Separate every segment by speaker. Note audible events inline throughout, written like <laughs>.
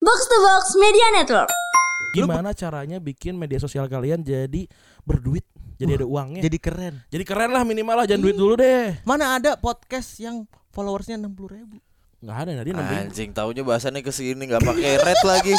Speaker 1: Box to Box Media Network.
Speaker 2: Gimana caranya bikin media sosial kalian jadi berduit, jadi ada uangnya. Jadi,
Speaker 3: Jadi keren.
Speaker 2: keren lah minimal lah, jangan duit dulu deh.
Speaker 3: Iya. Mana ada podcast yang followersnya 60 ribu?
Speaker 2: Nggak ada Nadine namanya.
Speaker 4: Anjing taunya bahasannya ke sini nggak pakai red lagi.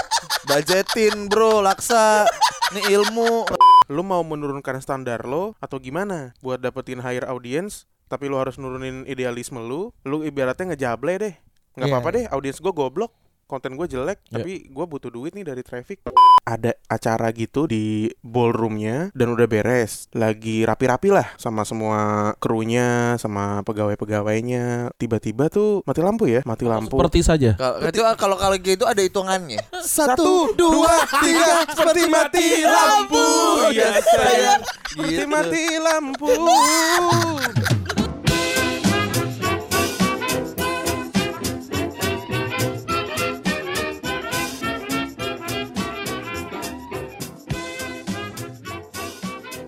Speaker 4: Budgetin bro, laksa. Ini ilmu.
Speaker 5: lu mau menurunkan standar lo atau gimana buat dapetin higher audience tapi lu harus nurunin idealisme lu lu ibaratnya ngejable deh nggak
Speaker 3: Iya.
Speaker 5: apa-apa deh audiens gue goblok konten gue jelek
Speaker 2: Iya.
Speaker 5: tapi gue butuh duit nih dari traffic ada acara gitu di ballroomnya dan udah beres lagi rapi-rapi lah sama semua krunya sama pegawai-pegawainya tiba-tiba tuh mati lampu ya mati lampu
Speaker 2: Seperti saja.
Speaker 4: Kalau itu kalau kalau gitu ada hitungannya.
Speaker 5: satu dua tiga seperti mati lampu
Speaker 4: Iya,
Speaker 5: ya sayang seperti
Speaker 4: Gitu.
Speaker 5: mati lampu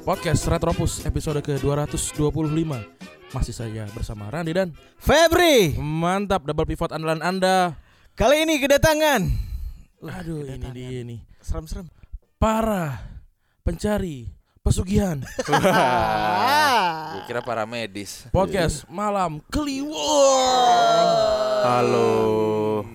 Speaker 2: Podcast Retropus episode ke-225. Masih saja bersama Randi dan
Speaker 3: Febri,
Speaker 2: mantap double pivot andalan Anda.
Speaker 3: kali ini kedatangan.
Speaker 2: Aduh, ini dia nih.
Speaker 3: Serem-serem.
Speaker 2: Para pencari pesugihan
Speaker 4: Gue
Speaker 3: Ah.
Speaker 4: kira para medis.
Speaker 2: podcast malam kliwon.
Speaker 5: <laughs> halo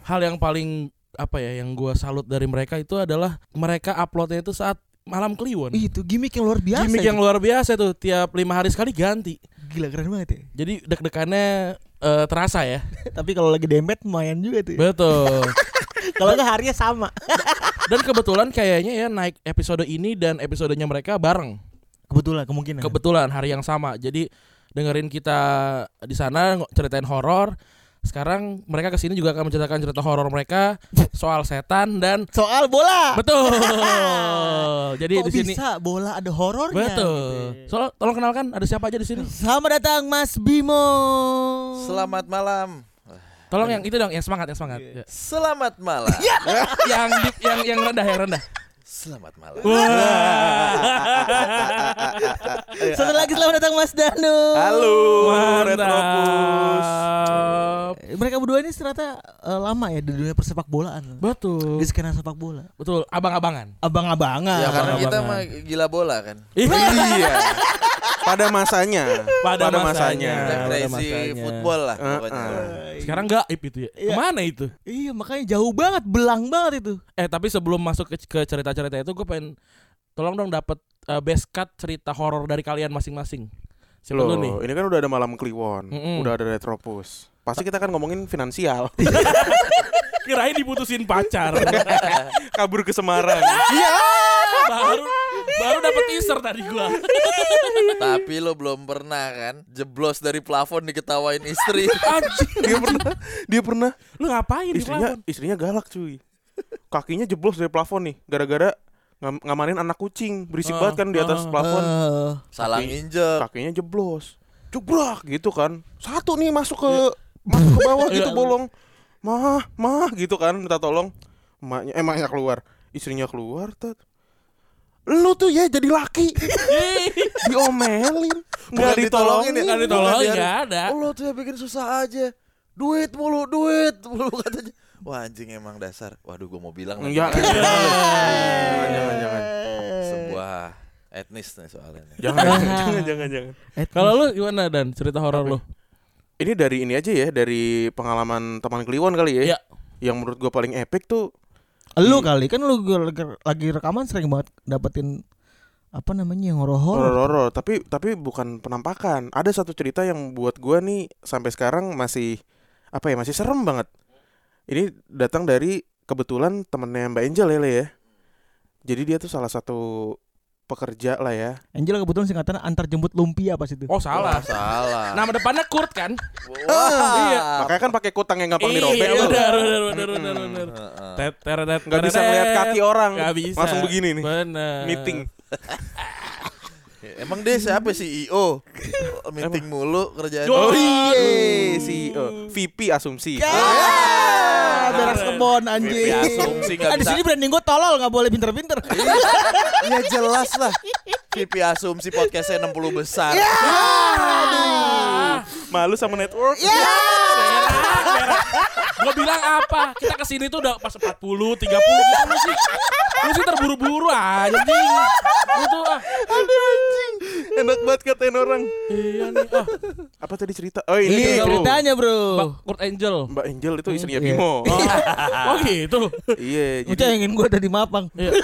Speaker 2: hal yang paling apa ya yang gua salut dari mereka itu adalah mereka uploadnya itu saat malam kliwon
Speaker 3: Ih, Itu gimmick yang luar Iya, biasa.
Speaker 2: gimmick
Speaker 3: itu.
Speaker 2: yang luar biasa tuh tiap lima hari sekali ganti
Speaker 3: gila keren banget ya.
Speaker 2: jadi deg-degannya eh, terasa ya
Speaker 3: <laughs> Tapi kalau lagi dempet lumayan juga tuh. ya. <laughs>
Speaker 2: betul
Speaker 3: Kalau nggak harinya sama.
Speaker 2: dan kebetulan kayaknya ya naik episode ini dan episodenya mereka bareng
Speaker 3: Kebetulan kemungkinan.
Speaker 2: kebetulan hari yang sama jadi dengerin kita di sana ngo- ceritain horor sekarang mereka kesini juga akan menceritakan cerita horor mereka
Speaker 3: <laughs>
Speaker 2: soal setan dan
Speaker 3: Soal bola. <laughs>
Speaker 2: betul jadi
Speaker 3: Kok
Speaker 2: di sini
Speaker 3: bisa bola ada horornya?
Speaker 2: Betul.
Speaker 3: gitu.
Speaker 2: Soal tolong kenalkan ada siapa aja di sini.
Speaker 3: Selamat datang Mas Bimo.
Speaker 4: Selamat malam.
Speaker 2: Tolong yang itu dong, yang semangat, yang semangat. Ya.
Speaker 4: Selamat malam.
Speaker 2: <laughs>
Speaker 5: Iya.
Speaker 2: yang di- yang yang rendah, yang rendah.
Speaker 4: Selamat malam.
Speaker 3: Satu lagi <laughs> selamat datang Mas Danu.
Speaker 5: halo retropus
Speaker 2: Mantap.
Speaker 3: Mereka berdua ini ternyata eh, lama ya di dunia persepak bolaan.
Speaker 2: Betul.
Speaker 3: Di skena sepak bola.
Speaker 2: Betul, abang-abangan.
Speaker 3: Abang-abangan.
Speaker 4: Ya karena
Speaker 2: Abang-abangan.
Speaker 4: kita mah gila bola kan.
Speaker 5: iya pada masanya
Speaker 2: Pada
Speaker 5: Iya,
Speaker 4: Kita
Speaker 2: masanya. Ya, udah
Speaker 4: crazy
Speaker 2: makanya.
Speaker 4: football lah
Speaker 5: Eh,
Speaker 4: pokoknya.
Speaker 2: Sekarang gaib itu ya.
Speaker 3: Iya.
Speaker 2: Kemana itu?
Speaker 3: Iya makanya jauh banget, belang banget itu.
Speaker 2: Eh, tapi sebelum masuk ke, ke cerita-cerita itu gue pengen tolong dong dapat eh, best cut cerita horor dari kalian masing-masing. Siapa dulu
Speaker 5: Loh,
Speaker 2: nih?
Speaker 5: ini kan udah ada malam kliwon
Speaker 2: Mm-mm.
Speaker 5: udah ada retropus pasti kita akan ngomongin
Speaker 2: <laughs>
Speaker 5: finansial
Speaker 2: Kirain diputusin pacar.
Speaker 5: kabur ke Semarang
Speaker 4: Iya.
Speaker 2: baru baru dapat teaser tadi gua.
Speaker 5: Iya.
Speaker 4: Tapi lo belum pernah kan jeblos dari plafon diketawain istri.
Speaker 5: dia pernah dia pernah
Speaker 2: <laughs> Lu ngapain di <laughs>
Speaker 5: istrinya
Speaker 2: plafon?
Speaker 5: istrinya galak cuy kakinya jeblos dari plafon nih gara-gara ngam- ngamanin anak kucing berisik
Speaker 2: Ah,
Speaker 5: banget kan di atas
Speaker 2: ah,
Speaker 5: plafon
Speaker 3: Eh,
Speaker 4: Salah
Speaker 5: Tapi-
Speaker 4: nginjek.
Speaker 5: Eh, kakinya jeblos jebrak gitu kan satu nih masuk ke masuk ke bawah gitu
Speaker 2: Iya.
Speaker 5: bolong mah mah gitu kan minta tolong emaknya eh, emaknya keluar istrinya keluar tet lu tuh ya jadi laki diomelin nggak
Speaker 4: Bukan ditolongin
Speaker 5: ditolongin
Speaker 4: ya,
Speaker 5: ya
Speaker 2: Nggak ditolongin, nggak ada.
Speaker 4: Oh, lo tuh yang bikin susah aja. Duit mulu, duit mulu katanya. Wah anjing emang dasar. Waduh gue mau bilang lagi.
Speaker 5: Jangan, jangan, jangan, jangan,
Speaker 4: sebuah etnis nih soalnya. nih.
Speaker 3: Eh,
Speaker 5: jangan, jangan, jangan, jangan.
Speaker 3: Ed-
Speaker 2: Kalau lu gimana dan cerita horor lu?
Speaker 5: Ini dari ini aja ya, dari pengalaman teman Kliwon kali ya.
Speaker 2: Iya.
Speaker 5: Yang menurut gue paling epic tuh
Speaker 3: lu kali kan lu gua lagi- lagi rekaman sering banget dapetin apa namanya yang horor-horor.
Speaker 5: horor-horor, tapi tapi bukan penampakan. Ada satu cerita yang buat gue nih sampai sekarang masih apa ya, masih serem banget. Ini datang dari kebetulan temennya Mbak Angel ya, Le, ya. Jadi dia tuh salah satu pekerja lah ya.
Speaker 3: Angel kebetulan singkatan antar jemput lumpia pas itu.
Speaker 2: Oh salah.
Speaker 4: Wah, salah.
Speaker 2: Nama depannya Kurt kan?
Speaker 4: Wah.
Speaker 2: Iya.
Speaker 5: Makanya kan pakai kutang yang gampang
Speaker 2: Iya,
Speaker 5: dirobek tuh.
Speaker 2: benar, benar, benar, benar,
Speaker 5: Mm-mm.
Speaker 2: benar.
Speaker 4: Heeh.
Speaker 2: Tet, teret, tet,
Speaker 5: Hmm, Nggak bisa
Speaker 2: teret.
Speaker 5: ngeliat kaki orang.
Speaker 2: Nggak bisa.
Speaker 5: Langsung begini nih.
Speaker 2: Benar.
Speaker 5: Meeting.
Speaker 4: Emang dia siapa CEO? Meeting mulu kerjaan.
Speaker 2: Yo.
Speaker 5: Oh
Speaker 2: Aduh.
Speaker 5: iya, si oh, VP asumsi.
Speaker 2: Iya.
Speaker 3: Ah, beres kebon anjing.
Speaker 4: Ya, asumsi nggak
Speaker 3: <laughs> Ah, di
Speaker 4: bisa. Iya,
Speaker 3: sini branding gua tolol nggak boleh pinter-pinter.
Speaker 4: Ya jelas lah. VP asumsi podcastnya 60 besar.
Speaker 2: Iya.
Speaker 5: Malu sama network.
Speaker 3: Ya.
Speaker 2: Gue bilang apa? Kita kesini tuh udah pas 40, 30 gitu lu sih. Lu sih terburu-buru anjing. Lu tuh ah,
Speaker 5: <laughs> Enak banget katain orang.
Speaker 2: iya nih ah,
Speaker 5: Apa tadi cerita? Oh ini
Speaker 3: Ini
Speaker 5: tuh.
Speaker 3: Iya, ceritanya bro.
Speaker 2: Mbak Kurt
Speaker 5: <laughs>
Speaker 2: Angel.
Speaker 5: Mbak Angel itu istrinya
Speaker 3: Iya.
Speaker 5: Bimo.
Speaker 2: Oh, oh gitu.
Speaker 5: Iya,
Speaker 3: Itu yang
Speaker 5: jadi
Speaker 3: ingin gue ada di Mapang.
Speaker 2: Iya. <laughs>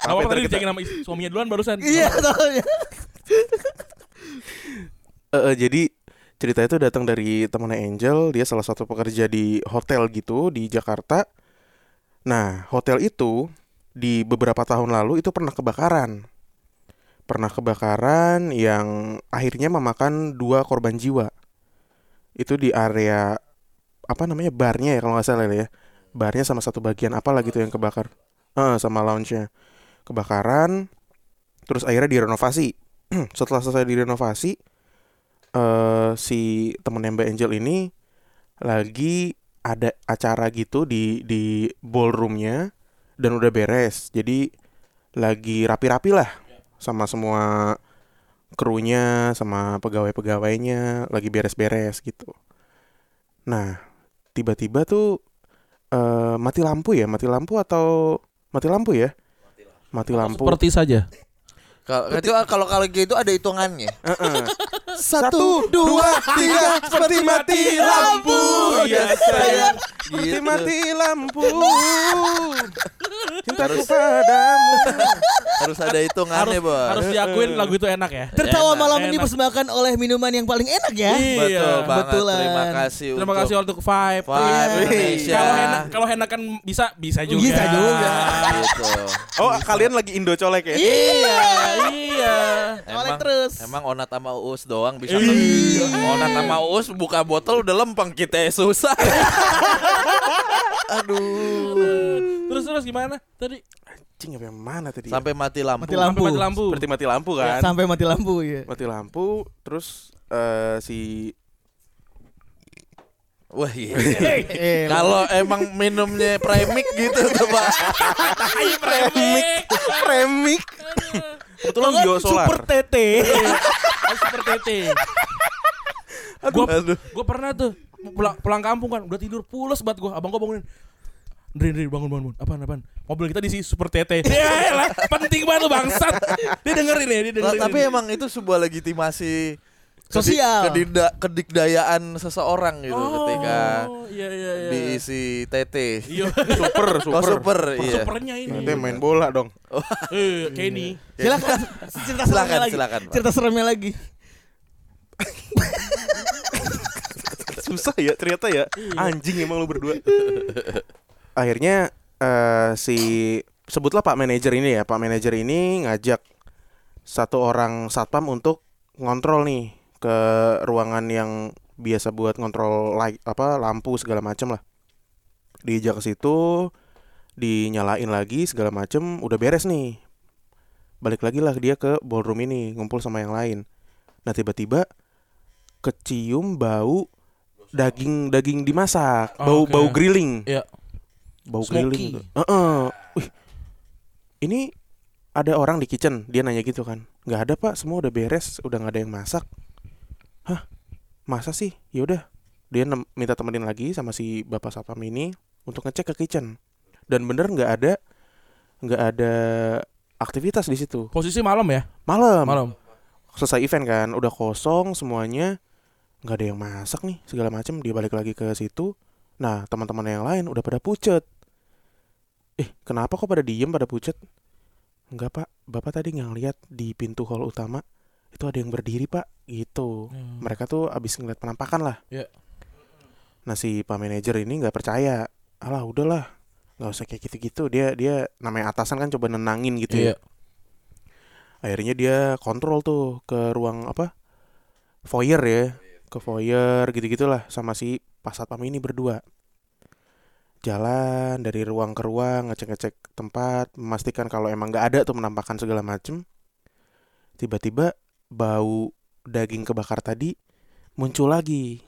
Speaker 5: apa
Speaker 2: Apa tadi
Speaker 5: tadi kita-
Speaker 2: dijengin sama is- suaminya duluan barusan?
Speaker 3: Iya soalnya.
Speaker 5: Eh, eh, jadi cerita itu datang dari temannya Angel, dia salah satu pekerja di hotel gitu di Jakarta. Nah, hotel itu di beberapa tahun lalu itu pernah kebakaran. Pernah kebakaran yang akhirnya memakan dua korban jiwa. Itu di area apa namanya barnya ya kalau nggak salah ya. Barnya sama satu bagian apalah gitu yang kebakar. Eh, sama lounge-nya. Kebakaran terus akhirnya direnovasi. <clears throat> Setelah selesai direnovasi, eh si temen yang Mbak Angel ini lagi ada acara gitu di di ballroomnya dan udah beres jadi lagi rapi-rapi lah sama semua krunya sama pegawai-pegawainya lagi beres-beres gitu nah tiba-tiba tuh eh mati lampu ya mati lampu atau mati lampu ya mati lampu
Speaker 2: Seperti saja.
Speaker 4: Kalau itu kalau kalau gitu ada hitungannya.
Speaker 5: Heeh.
Speaker 4: Satu, dua, tiga, seperti mati lampu.
Speaker 2: Oh, iya,
Speaker 4: iya.
Speaker 5: Ya, sayang. Seperti
Speaker 4: Gitu.
Speaker 5: mati lampu Cintaku padamu
Speaker 4: Harus ada hitungannya,
Speaker 2: Harus
Speaker 4: Bos.
Speaker 2: harus diakuin lagu itu enak ya.
Speaker 3: Tertawa
Speaker 4: Enak,
Speaker 3: malam ini
Speaker 2: enak.
Speaker 3: dipersembahkan oleh minuman yang paling enak ya.
Speaker 2: Iya.
Speaker 4: Betul banget.
Speaker 3: betulan.
Speaker 4: Terima kasih
Speaker 2: Terima kasih untuk Vibe.
Speaker 4: Vibe
Speaker 2: Iya.
Speaker 4: Indonesia.
Speaker 2: Kalau enak kalau enak kan bisa bisa juga.
Speaker 3: Bisa juga.
Speaker 4: Gitu.
Speaker 5: Oh kalian lagi Indo colek ya
Speaker 3: Iya.
Speaker 2: iya.
Speaker 3: Oleh
Speaker 4: Emang,
Speaker 3: terus.
Speaker 4: emang onat sama uus doang bisa Onat sama uus buka botol udah lempeng kita ya,
Speaker 2: <laughs>
Speaker 4: susah Aduh
Speaker 2: Terus terus gimana tadi?
Speaker 5: Cing apa yang mana tadi
Speaker 4: Sampai mati lampu
Speaker 3: Mati lampu.
Speaker 2: Mati lampu.
Speaker 5: Seperti mati lampu kan
Speaker 3: Sampai mati lampu ya.
Speaker 5: Mati lampu Terus eh, si
Speaker 4: Wah
Speaker 2: <laughs>
Speaker 4: iya
Speaker 3: Eh,
Speaker 4: Kalau emang minumnya premix gitu <laughs> coba
Speaker 2: <laughs> Ayo premik.
Speaker 5: Remik Kebetulan biosolar
Speaker 3: Super TT.
Speaker 2: Iya. Oh, Super tete. Gua gua pernah tuh pulang, pulang kampung kan udah tidur pules banget gua. Abang gua bangunin. Drin, Drin, bangun, bangun, bangun. Apaan, apaan? Mobil kita diisi super <laughs> tete. Ya lah, penting banget lu bangsat. Dia dengerin ya, dia dengerin.
Speaker 4: Tapi emang itu sebuah legitimasi kedi-
Speaker 3: Sosial.
Speaker 4: kedida- kedikdayaan seseorang gitu ketika
Speaker 2: Oh, iya iya iya.
Speaker 4: diisi TT
Speaker 2: Iya.
Speaker 4: Oh,
Speaker 5: Super Super
Speaker 4: super, iya.
Speaker 2: Supernya ini.
Speaker 5: Nanti main bola dong
Speaker 2: Eh, Kenny.
Speaker 3: Silakan. <laughs> Cerita
Speaker 4: Silakan,
Speaker 3: seremnya lagi.
Speaker 4: silakan, Pak.
Speaker 3: Cerita seremnya lagi.
Speaker 5: Susah ya ternyata ya
Speaker 4: Iya.
Speaker 5: Anjing emang lu berdua Akhirnya eh, si Sebutlah pak manajer ini ya Pak manajer ini ngajak Satu orang satpam untuk Ngontrol nih Ke ruangan yang biasa buat ngontrol light, apa lampu segala macem lah Diajak ke situ Dinyalain lagi segala macem Udah beres nih Balik lagi lah dia ke ballroom ini Ngumpul sama yang lain Nah tiba-tiba Kecium bau daging daging dimasak,
Speaker 2: Oh,
Speaker 5: bau
Speaker 2: oke.
Speaker 5: bau grilling,
Speaker 2: Iya.
Speaker 5: bau
Speaker 2: Smoky.
Speaker 5: grilling. tuh. Heeh. Wih, ini ada orang di kitchen, dia nanya gitu kan. Nggak ada pak, semua udah beres, udah nggak ada yang masak. Hah, masa sih? Yaudah, dia nem- minta temenin lagi sama si bapak satpam ini untuk ngecek ke kitchen. Dan bener nggak ada nggak ada aktivitas di situ.
Speaker 2: Posisi malam ya?
Speaker 5: Malam.
Speaker 2: Malam.
Speaker 5: selesai event kan udah kosong semuanya nggak ada yang masak nih segala macem dia balik lagi ke situ nah teman-teman yang lain udah pada pucet eh kenapa kok pada diem pada pucet Enggak pak bapak tadi nggak lihat di pintu hall utama itu ada yang berdiri pak gitu mereka tuh abis ngeliat penampakan lah
Speaker 2: Iya.
Speaker 5: nah si pak manajer ini nggak percaya alah udahlah nggak usah kayak gitu-gitu dia dia namanya atasan kan coba nenangin gitu ya
Speaker 2: Iya.
Speaker 5: akhirnya dia kontrol tuh ke ruang apa foyer ya ke foyer gitu gitulah sama si pas satpam ini berdua jalan dari ruang ke ruang ngecek ngecek tempat memastikan kalau emang nggak ada tuh menampakkan segala macem tiba-tiba bau daging kebakar tadi muncul lagi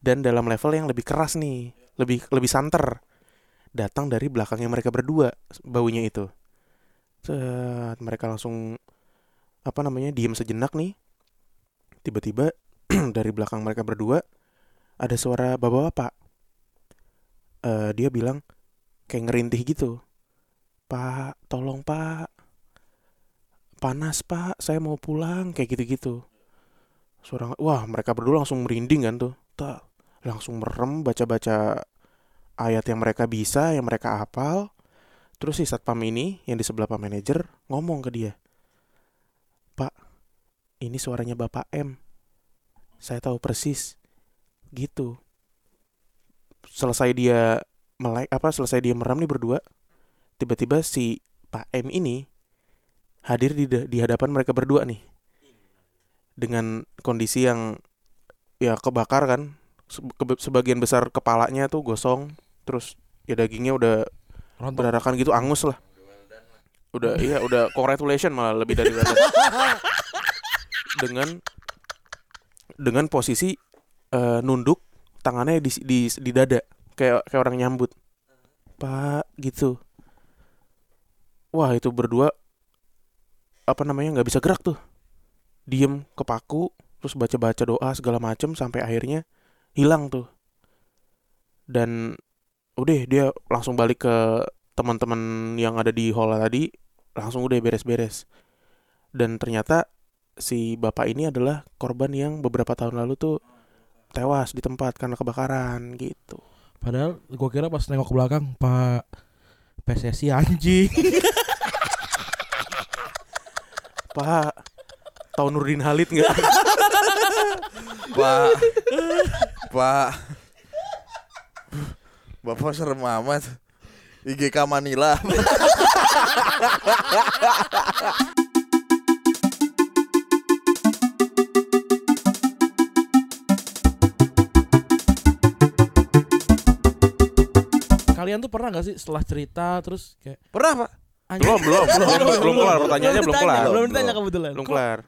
Speaker 5: dan dalam level yang lebih keras nih lebih lebih santer datang dari belakangnya mereka berdua baunya itu Set, mereka langsung apa namanya diem sejenak nih <clears throat> tiba-tiba dari belakang mereka berdua ada suara bapak-bapak eh, dia bilang kayak ngerintih gitu pak tolong pak panas pak saya mau pulang kayak gitu-gitu suara wah mereka berdua langsung merinding kan tuh tak langsung merem baca-baca ayat yang mereka bisa yang mereka hafal terus si satpam ini yang di sebelah pak manajer ngomong ke dia pak ini suaranya bapak M saya tahu persis gitu selesai dia melek apa selesai dia merem nih berdua tiba-tiba si Pak M ini hadir di di hadapan mereka berdua nih dengan kondisi yang ya kebakar kan Se- kebe- sebagian besar kepalanya tuh gosong terus ya dagingnya udah
Speaker 2: Rontok.
Speaker 5: berarakan gitu angus lah udah iya udah congratulation malah lebih dari well done. dengan dengan posisi eh, nunduk tangannya di, di di dada kayak kayak orang nyambut pak gitu wah itu berdua apa namanya nggak bisa gerak tuh diem kepaku terus baca baca doa segala macem sampai akhirnya hilang tuh dan udah dia langsung balik ke teman-teman yang ada di hall tadi langsung udah beres-beres. Dan ternyata si bapak ini adalah korban yang beberapa tahun lalu tuh tewas di tempat karena kebakaran gitu.
Speaker 2: Padahal gua kira pas nengok ke belakang Pak PSSI anjing.
Speaker 5: Pak, tahu Nurdin Halid nggak? <laughs>
Speaker 2: <laughs>
Speaker 4: Pak. Pak. Bapak serem amat. IGK
Speaker 2: <laughs>
Speaker 4: Manila.
Speaker 2: Kalian tuh pernah gak sih setelah cerita terus kayak
Speaker 4: Pernah, Pak?
Speaker 2: anjing,
Speaker 5: belum, belum, belum, belum, belum kelar pertanyaannya belum
Speaker 3: ditanya,
Speaker 5: kelar.
Speaker 3: Belum
Speaker 4: Belum.
Speaker 3: ditanya kebetulan.
Speaker 5: Belum kelar.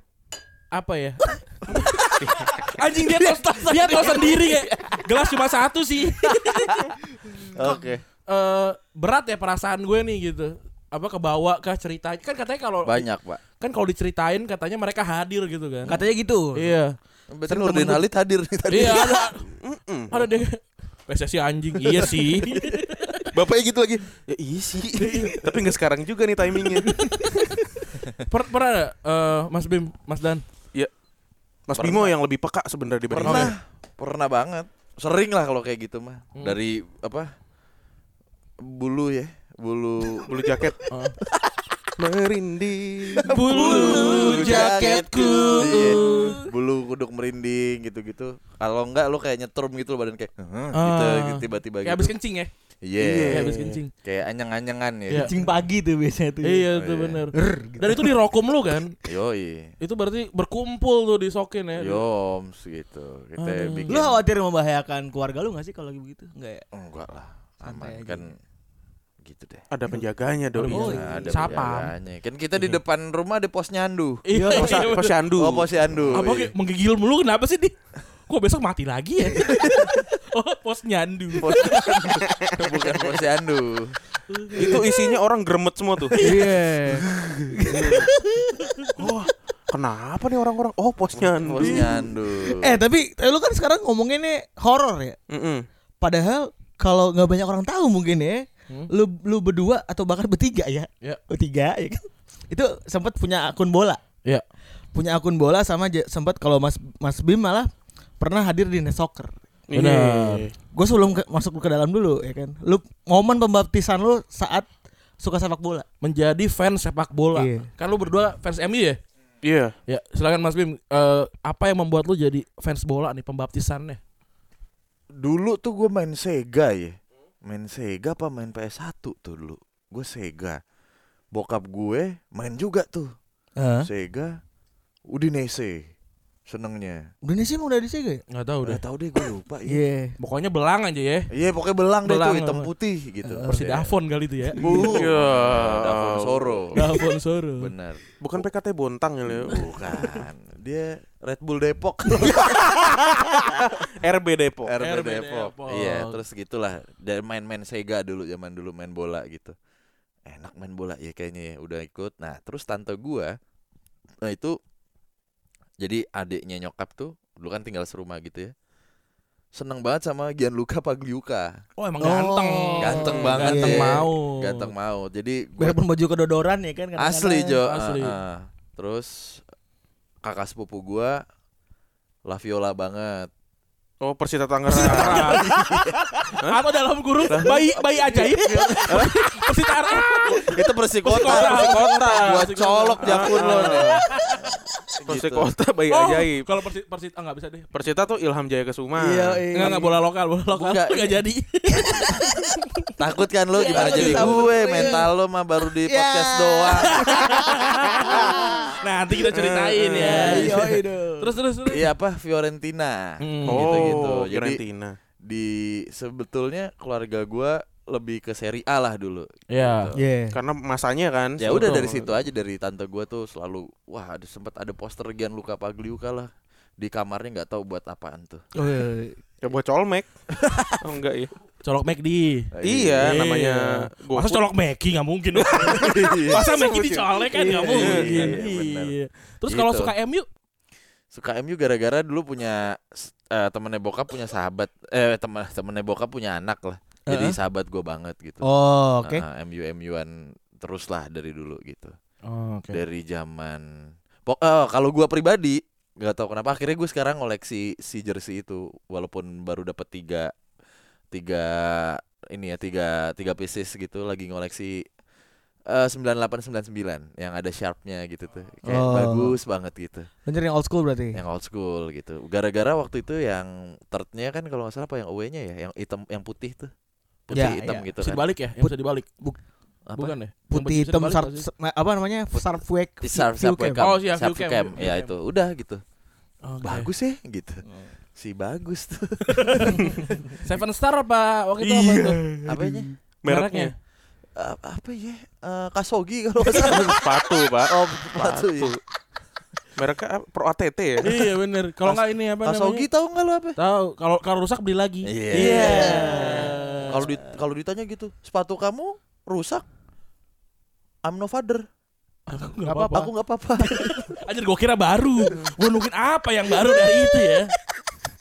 Speaker 2: apa ya? <laughs> anjing dia tahu dia tahu sendiri kayak gelas cuma satu sih.
Speaker 4: Oke.
Speaker 2: <laughs> Eh, berat ya perasaan gue nih gitu. Apa kebawa kah cerita? Kan katanya kalau
Speaker 4: Banyak, Pak.
Speaker 2: kan kalau diceritain katanya mereka hadir gitu kan.
Speaker 3: Katanya gitu.
Speaker 2: iya.
Speaker 4: Berarti Nurdin Halid hadir nih tadi.
Speaker 2: Iya ada
Speaker 5: Mm-mm.
Speaker 2: ada dia PSSI anjing. Iya <laughs> sih.
Speaker 4: Bapaknya gitu lagi.
Speaker 5: Ya, iya sih. Tapi nggak sekarang juga nih timingnya.
Speaker 2: Per pernah ada, eh, Mas Bim, Mas Dan?
Speaker 4: Pernah.
Speaker 5: Mas Bimo yang lebih peka sebenarnya dibanding
Speaker 4: Pernah.
Speaker 5: saya.
Speaker 4: Pernah banget. Sering lah kalau kayak gitu mah.
Speaker 2: Hmm.
Speaker 4: Dari apa? Bulu ya, bulu
Speaker 5: Bulu jaket
Speaker 2: Heeh.
Speaker 5: <laughs> merinding.
Speaker 2: Bulu jaketku.
Speaker 4: Iya. bulu kuduk merinding gitu-gitu. Kalau enggak lu kayak nyetrum gitu lo badan kayak "Huh," gitu,
Speaker 2: Ah.
Speaker 4: gitu, tiba-tiba
Speaker 2: Kayak habis
Speaker 4: gitu.
Speaker 2: kencing ya?
Speaker 4: Iya.
Speaker 2: Kayak habis kencing.
Speaker 4: Kayak anyang-anyangan ya.
Speaker 2: Iya.
Speaker 3: Cing pagi tuh biasanya tuh.
Speaker 2: Iya gitu.
Speaker 4: Oh,
Speaker 2: itu
Speaker 4: iya.
Speaker 2: bener Dan itu di rokum lu kan?
Speaker 4: Yoi.
Speaker 2: Itu berarti berkumpul tuh disokin ya.
Speaker 4: Yoms gitu. Kita
Speaker 2: Aduh.
Speaker 4: bikin
Speaker 3: Lu khawatir membahayakan keluarga lu gak sih kalau begitu? Enggak ya?
Speaker 4: enggak lah. Aman
Speaker 3: Santai aja.
Speaker 4: kan gitu deh.
Speaker 5: Ada penjaganya doi.
Speaker 2: Oh,
Speaker 4: Nah,
Speaker 2: iya.
Speaker 4: ada
Speaker 2: Sapam.
Speaker 4: penjaganya. Kan kita di depan rumah ada pos nyandu.
Speaker 2: Iya.
Speaker 5: Pos,
Speaker 2: iya, bener.
Speaker 5: posyandu.
Speaker 4: Oh, pos nyandu.
Speaker 2: Apa
Speaker 4: iya.
Speaker 2: kayak menggigil mulu kenapa sih di? Kok besok mati lagi ya? <laughs> oh, pos nyandu.
Speaker 4: <laughs> Pos bukan pos nyandu.
Speaker 5: itu isinya orang gremet semua tuh. <laughs>
Speaker 2: Iya.
Speaker 5: Oh, kenapa nih orang-orang? Oh, posnya
Speaker 4: Pos nyandu.
Speaker 3: Eh tapi eh, lu kan sekarang ngomonginnya horor ya?
Speaker 5: Mm-mm.
Speaker 3: Padahal kalau nggak banyak orang tahu mungkin ya,
Speaker 2: Hmm.
Speaker 3: lu lu berdua atau bahkan bertiga ya,
Speaker 2: Ya.
Speaker 3: bertiga ya kan? Itu sempat punya akun bola,
Speaker 2: Iya.
Speaker 3: punya akun bola sama aja sempat kalau Mas Mas Bim malah pernah hadir di Net Soccer.
Speaker 2: Benar.
Speaker 5: Iya.
Speaker 3: Gue sebelum ke- masuk ke dalam dulu ya kan, lu momen pembaptisan lu saat suka sepak bola.
Speaker 2: Menjadi fans sepak bola.
Speaker 3: Iya.
Speaker 2: Kan lu berdua fans MU ya?
Speaker 5: Iya.
Speaker 2: Ya, silakan Mas Bim. Eh, apa yang membuat lu jadi fans bola nih pembaptisannya?
Speaker 4: Dulu tuh gue main Sega ya. Main Sega apa main PS1 tuh dulu. Gue Sega. Bokap gue main juga tuh. Sega Udinese senengnya.
Speaker 3: Indonesia emang udah di Sega ya?
Speaker 2: Nggak tahu
Speaker 4: Udah
Speaker 2: deh.
Speaker 4: tahu deh gue lupa. Iya,
Speaker 3: Iya.
Speaker 2: Pokoknya belang aja ya.
Speaker 4: Iya, pokoknya belang,
Speaker 2: Belang,
Speaker 4: deh tuh hitam
Speaker 2: apa? Eh,
Speaker 4: putih gitu.
Speaker 2: Persi Davon kali itu ya.
Speaker 4: Bu.
Speaker 5: Ya.
Speaker 4: Davon Soro.
Speaker 2: Davon Soro.
Speaker 4: Bener.
Speaker 5: Bukan PKT Bontang ya, Leo.
Speaker 4: Hmm. Bukan. Dia Red Bull Depok.
Speaker 5: RB Depok.
Speaker 4: RB
Speaker 2: RB
Speaker 4: Depok.
Speaker 2: Depok.
Speaker 4: Iya, terus gitulah. Dan main-main Sega dulu zaman dulu main bola gitu. Enak main bola ya kayaknya ya, udah ikut. Nah, terus tante gua nah itu jadi adiknya nyokap tuh dulu kan tinggal serumah gitu ya. seneng banget sama Gianluca Pagliuca.
Speaker 2: Oh emang ganteng. Iya.
Speaker 3: Oh.
Speaker 4: Ganteng banget
Speaker 2: Ganteng
Speaker 4: ya.
Speaker 2: mau.
Speaker 4: Ganteng mau. Jadi gua-
Speaker 3: Biarpun baju kedodoran ya kan kadang-kadang.
Speaker 4: asli Jo.
Speaker 2: Asli.
Speaker 4: Ah, ah. Terus kakak sepupu gua Laviola banget.
Speaker 5: Oh Persita Tangerang.
Speaker 2: Atau Iya. dalam guru bayi bayi ajaib. Persita Arab.
Speaker 4: Itu persikota,
Speaker 5: Persikota.
Speaker 4: Gua colok jakun lo. nih.
Speaker 5: Persik
Speaker 4: Gitu.
Speaker 5: Kota bayi
Speaker 2: Oh,
Speaker 5: ajaib. Iya.
Speaker 2: Kalau Persit Persit ah enggak bisa deh.
Speaker 5: Persita tuh Ilham Jaya Kesuma.
Speaker 3: Iya, iya.
Speaker 2: Enggak enggak bola lokal, bola lokal.
Speaker 4: Enggak.
Speaker 2: Enggak jadi.
Speaker 4: Takut kan lo gimana jadi
Speaker 3: takut.
Speaker 4: gue
Speaker 3: Iya.
Speaker 4: mental lo mah baru di podcast
Speaker 3: <laughs>
Speaker 4: doang.
Speaker 2: Nah, nanti kita ceritain ya.
Speaker 3: Iya, iya, dong.
Speaker 2: Terus terus terus.
Speaker 4: Iya apa Fiorentina.
Speaker 2: Hmm.
Speaker 4: Gitu-gitu.
Speaker 5: Oh,
Speaker 4: Jadi
Speaker 5: Fiorentina.
Speaker 4: di sebetulnya keluarga gua lebih ke seri A lah dulu.
Speaker 2: Iya.
Speaker 4: Gitu.
Speaker 3: Iya.
Speaker 5: Karena masanya kan.
Speaker 4: Ya udah dari situ aja dari tante gua tuh selalu wah ada sempat ada poster Gianluca Pagliuca lah di kamarnya nggak tahu buat apaan tuh.
Speaker 3: Oh, iya, iya.
Speaker 5: Ya buat colmek. oh enggak ya.
Speaker 2: Colok McD.
Speaker 4: Nah,
Speaker 5: Iya,
Speaker 2: Iya.
Speaker 5: namanya
Speaker 2: Masa
Speaker 5: GoFood.
Speaker 2: colok Meki enggak mungkin. dong. Masa Meki dicolek kan enggak
Speaker 4: Iya,
Speaker 2: mungkin.
Speaker 4: iya, benar.
Speaker 2: Iya. Terus kalau
Speaker 4: Gitu.
Speaker 2: suka MU
Speaker 4: Suka MU gara-gara dulu punya s- eh, temennya bokap punya sahabat eh temen temennya bokap punya anak lah. Jadi
Speaker 3: Heeh.
Speaker 4: sahabat gua banget gitu.
Speaker 3: Oh, oke.
Speaker 4: Ah, ah, MU MU-an terus lah dari dulu gitu.
Speaker 2: Oke.
Speaker 4: dari zaman Pok- eh, kalau gua pribadi nggak tahu kenapa akhirnya gue sekarang ngoleksi si jersey itu walaupun baru dapat tiga tiga ini ya tiga tiga pieces gitu lagi ngoleksi eh, sembilan delapan yang ada sharpnya gitu tuh kayak
Speaker 3: Oh.
Speaker 4: bagus banget gitu
Speaker 3: Lu nyari yang old school berarti.
Speaker 4: yang old school gitu gara-gara waktu itu yang thirdnya kan kalau nggak salah apa yang away-nya ya yang hitam yang putih tuh putih
Speaker 3: Ya,
Speaker 4: hitam
Speaker 3: ya.
Speaker 4: gitu
Speaker 2: Bisa
Speaker 4: kan
Speaker 2: dibalik ya? Yang bisa dibalik.
Speaker 4: Apa?
Speaker 2: Bukan ya? Yang bisa
Speaker 3: Putih hitam
Speaker 2: dibalik
Speaker 3: sar
Speaker 2: nggak sih?
Speaker 3: sa- apa namanya? ya? Sharp wake.
Speaker 4: Di sharp sharp
Speaker 3: view
Speaker 4: wake
Speaker 3: cam.
Speaker 2: Oh,
Speaker 4: up,
Speaker 2: iya,
Speaker 4: sharp
Speaker 2: view
Speaker 4: wake
Speaker 2: cam,
Speaker 4: up.
Speaker 2: view
Speaker 4: ya
Speaker 2: cam.
Speaker 4: itu udah gitu
Speaker 2: Oke. Hmm.
Speaker 4: bagus ya gitu si bagus tuh
Speaker 2: Seven Star apa waktu itu apa tuh?
Speaker 4: apanya
Speaker 5: Mereknya.
Speaker 4: Eh, ya? apa ya Eh, kasogi
Speaker 2: <laughs>
Speaker 4: kalau nggak
Speaker 5: <laughs>
Speaker 4: salah
Speaker 5: Sepatu, Pak.
Speaker 4: oh sepatu ya
Speaker 5: Mereknya apa? Pro ATT ya.
Speaker 2: Iya bener. Kalau nggak ini apa namanya?
Speaker 4: kasogi tahu nggak lo apa
Speaker 2: Tahu. Kalau kalau rusak beli lagi.
Speaker 4: Iya. kalau di
Speaker 2: eh.
Speaker 4: kalau ditanya gitu sepatu kamu rusak I'm no father
Speaker 2: Aku
Speaker 3: Nggak
Speaker 2: nggak
Speaker 3: apa-apa.
Speaker 2: apa-apa.
Speaker 4: aku nggak apa-apa <laughs>
Speaker 2: Anjir gue kira baru. Gue nungguin apa yang baru dari itu ya?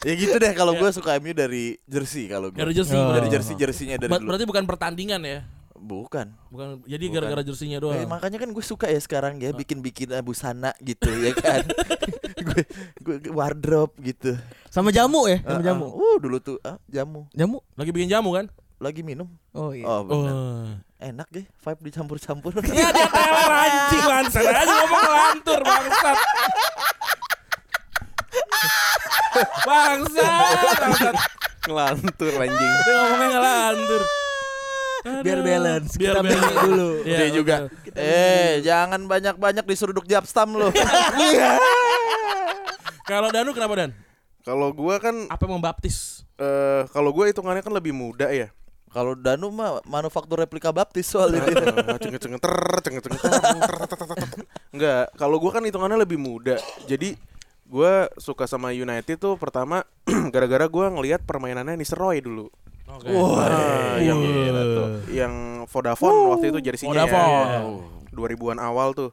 Speaker 4: ya gitu deh kalau gue suka MU dari jersey kalau gue
Speaker 2: Dari jersey.
Speaker 3: Oh.
Speaker 4: dari jersey jersinya dari
Speaker 2: Ber-
Speaker 4: dulu
Speaker 2: berarti bukan pertandingan ya?
Speaker 4: bukan
Speaker 2: Bukan. Jadi
Speaker 4: Bukan.
Speaker 2: gara-gara jersinya
Speaker 3: Iya,
Speaker 4: Eh,
Speaker 2: doang.
Speaker 4: makanya kan gue suka ya sekarang
Speaker 2: Oh.
Speaker 4: ya bikin bikin busana gitu ya kan
Speaker 2: <laughs>
Speaker 4: gue gue wardrobe gitu
Speaker 3: Sama jamu ya, sama
Speaker 4: Uh-uh.
Speaker 3: jamu.
Speaker 4: uh dulu tuh ah, jamu
Speaker 3: Jamu.
Speaker 2: Lagi bikin jamu kan?
Speaker 4: lagi minum
Speaker 3: Oh iya.
Speaker 4: oh Iya, benar
Speaker 2: Oh.
Speaker 4: enak deh vibe <laughs> dicampur-campur
Speaker 2: Ya dia teler
Speaker 3: <laughs>
Speaker 2: anjing langsat aja ngomong lantur bangsat. Bangsat, bangsat.
Speaker 5: Ngelantur anjing.
Speaker 2: Dia ngomongnya ngelantur. Aduh.
Speaker 3: Biar balance.
Speaker 2: Biar
Speaker 3: Kita
Speaker 2: balance.
Speaker 3: balance dulu.
Speaker 2: Iya,
Speaker 4: Dia juga
Speaker 2: betul.
Speaker 4: eh jangan banyak-banyak diseruduk japstam <laughs> lo
Speaker 2: Kalau Danu kenapa Dan?
Speaker 5: Kalau gua kan
Speaker 2: Apa yang membaptis?
Speaker 5: eh kalau gua hitungannya kan lebih muda ya.
Speaker 4: kalau Danu mah manufaktur replika baptis soalnya dia.
Speaker 5: Nah, gitu. Iya.
Speaker 4: <laughs>
Speaker 5: Cengeng-cengeng ter, cengeng-cengeng ter, ter, ter, ter, ter. Enggak, kalau gua kan hitungannya lebih muda. Jadi gua suka sama United tuh pertama <clears throat> gara-gara gua ngelihat permainannya Nisroy dulu.
Speaker 2: Oke.
Speaker 5: Ah, yang
Speaker 3: Gila tuh.
Speaker 5: yang Vodafone waktu itu jersinya
Speaker 2: Vodafone.
Speaker 5: ya. 2000-an awal tuh.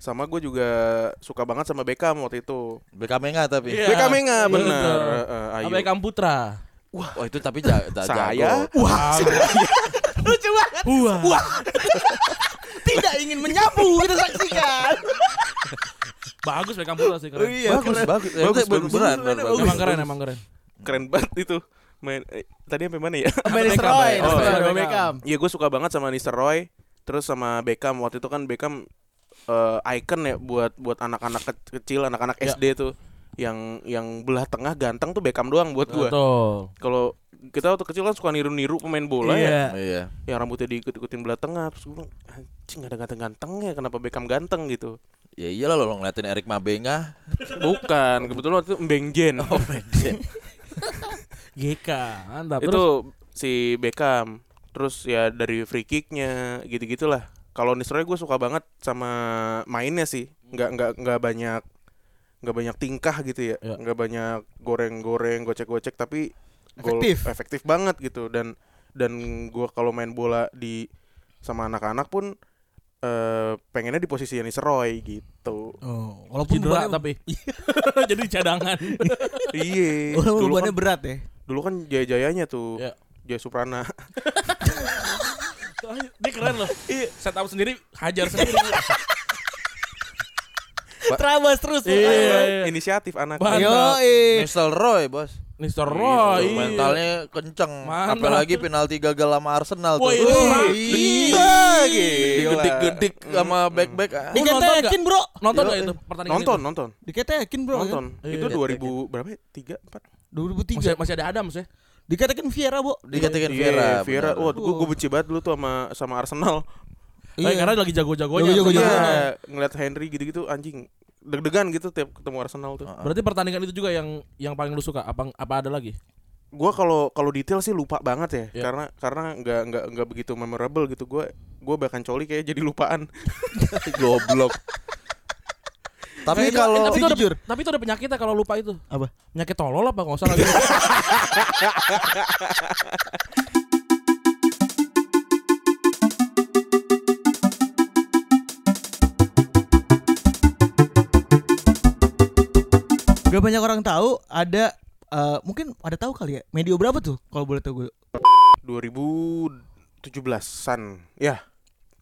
Speaker 5: Sama gue juga suka banget sama Beckham waktu itu.
Speaker 4: BKM-nya tapi
Speaker 2: Iya.
Speaker 5: Beckham
Speaker 2: Iya,
Speaker 5: enggak bener.
Speaker 2: betul.
Speaker 5: Eh, eh, ayo.
Speaker 2: Apa yang Kamputra?
Speaker 4: wah oh, itu tapi ja ja-
Speaker 5: Saya?
Speaker 4: jago.
Speaker 2: Wah.
Speaker 3: Lucu banget.
Speaker 2: Wah.
Speaker 3: Kan <laughs> Wah. Tidak ingin menyapu kita saksikan.
Speaker 2: Bagus Beckham Putra sih keren.
Speaker 4: bagus bagus Eh,
Speaker 5: Bagus,
Speaker 4: itu
Speaker 5: Iya, bagus.
Speaker 4: beneran, beneran, bagus.
Speaker 2: Emang keren, emang keren.
Speaker 5: Keren banget itu. Main eh, tadi sampai mana ya? <laughs>
Speaker 3: Benis
Speaker 2: Beckham,
Speaker 3: Roy,
Speaker 2: Beckham. iya,
Speaker 5: Oh,
Speaker 3: Roy
Speaker 2: Beckham.
Speaker 3: Beckham.
Speaker 5: Iya gue suka banget sama Nistelrooy terus sama Beckham waktu itu kan Beckham eh, icon ya buat buat anak-anak ke- kecil anak-anak
Speaker 2: Ya.
Speaker 5: SD tuh yang yang belah tengah ganteng tuh Beckham doang buat gue.
Speaker 2: Betul.
Speaker 5: Kalau kita waktu kecil kan suka niru-niru pemain bola ya,
Speaker 4: iya
Speaker 5: yang rambutnya diikut-ikutin belah tengah. Terus gue bilang, anjing ada ganteng-gantengnya, kenapa Beckham ganteng gitu?
Speaker 4: ya iyalah lo ngeliatin Erik Mabenga
Speaker 5: Bukan, kebetulan waktu itu Mbeng Jen.
Speaker 2: GK, mantap.
Speaker 5: itu si Beckham. Terus ya dari free kicknya gitu-gitulah. Kalau Nisroy gue suka banget sama mainnya sih. Nggak nggak nggak banyak nggak banyak tingkah gitu ya.
Speaker 2: Ya.
Speaker 5: Nggak banyak goreng-goreng, gocek-gocek tapi gol-
Speaker 3: Efektif.
Speaker 5: efektif banget gitu dan dan gue kalau main bola di sama anak-anak pun eh, pengennya di posisi Nisroy
Speaker 2: <laughs>
Speaker 5: gitu.
Speaker 3: Oh, walaupun <laughs>
Speaker 2: cedera
Speaker 3: bebannya,
Speaker 2: tapi <laughs> jadi cadangan.
Speaker 5: Iya.
Speaker 3: walaupun
Speaker 5: Dulu
Speaker 3: bebannya
Speaker 5: kan,
Speaker 3: berat ya.
Speaker 5: Dulu kan jaya-jayanya tuh.
Speaker 2: Ya.
Speaker 5: Jaya Suprana.
Speaker 2: Dia keren loh. Iya. Set up sendiri, hajar sendiri.
Speaker 3: Terabas terus.
Speaker 2: Iya. Ini
Speaker 5: <laughs> Inisiatif anak.
Speaker 2: Ba-
Speaker 3: Yo,
Speaker 4: Mr. Roy bos
Speaker 2: Mr. Roy.
Speaker 4: Iya, Mentalnya kenceng
Speaker 2: Mantap.
Speaker 4: Apalagi penalti gagal sama Arsenal
Speaker 2: Wah,
Speaker 4: tuh
Speaker 2: itu mah.
Speaker 4: Digedik-gedik sama back-back ah.
Speaker 2: Lu nonton
Speaker 3: Diketekin, Bro.
Speaker 2: Nonton gak
Speaker 4: Yo,
Speaker 2: itu pertandingan?
Speaker 5: Nonton,
Speaker 2: itu?
Speaker 5: nonton.
Speaker 3: Diketekin, Bro. kan?
Speaker 5: Nonton.
Speaker 2: gitu. Iya,
Speaker 5: Itu
Speaker 2: iya,
Speaker 5: 2000 berapa? ya?
Speaker 3: 2003.
Speaker 5: 3 4.
Speaker 2: Masih, masih ada Adam sih.
Speaker 3: Diketekin Vieira, Bu.
Speaker 4: Dikatakan Vera
Speaker 5: Iya, Vieira.
Speaker 4: benar.
Speaker 5: Wah, gua, gua benci banget dulu tuh sama sama
Speaker 2: <laughs>
Speaker 5: Arsenal.
Speaker 2: Eh, karena lagi jago-jagonya.
Speaker 3: Jago-jagonya.
Speaker 2: Arsenal.
Speaker 5: Iya, ngeliat Henry gitu-gitu anjing deg-degan gitu tiap ketemu Arsenal tuh.
Speaker 4: Heeh.
Speaker 2: Berarti pertandingan itu juga yang yang paling lu suka. Apa apa ada lagi?
Speaker 5: Gua kalau kalau detail sih lupa banget ya,
Speaker 2: Iya.
Speaker 5: karena karena nggak nggak nggak begitu memorable gitu. Gua gua bahkan coli kayak jadi lupaan.
Speaker 4: <laughs> Goblok Tapi
Speaker 2: Tapi itu-
Speaker 4: kalau
Speaker 2: tapi itu ada,
Speaker 3: Jujur.
Speaker 2: tapi itu ada penyakitnya kalau lupa itu.
Speaker 3: Apa?
Speaker 2: Penyakit tolol apa enggak usah
Speaker 3: <laughs>
Speaker 2: lagi.
Speaker 3: Gak banyak orang tahu ada eh, mungkin ada tahu kali ya. Medio berapa tuh kalau boleh tahu gue?
Speaker 5: 2017-an. Ya.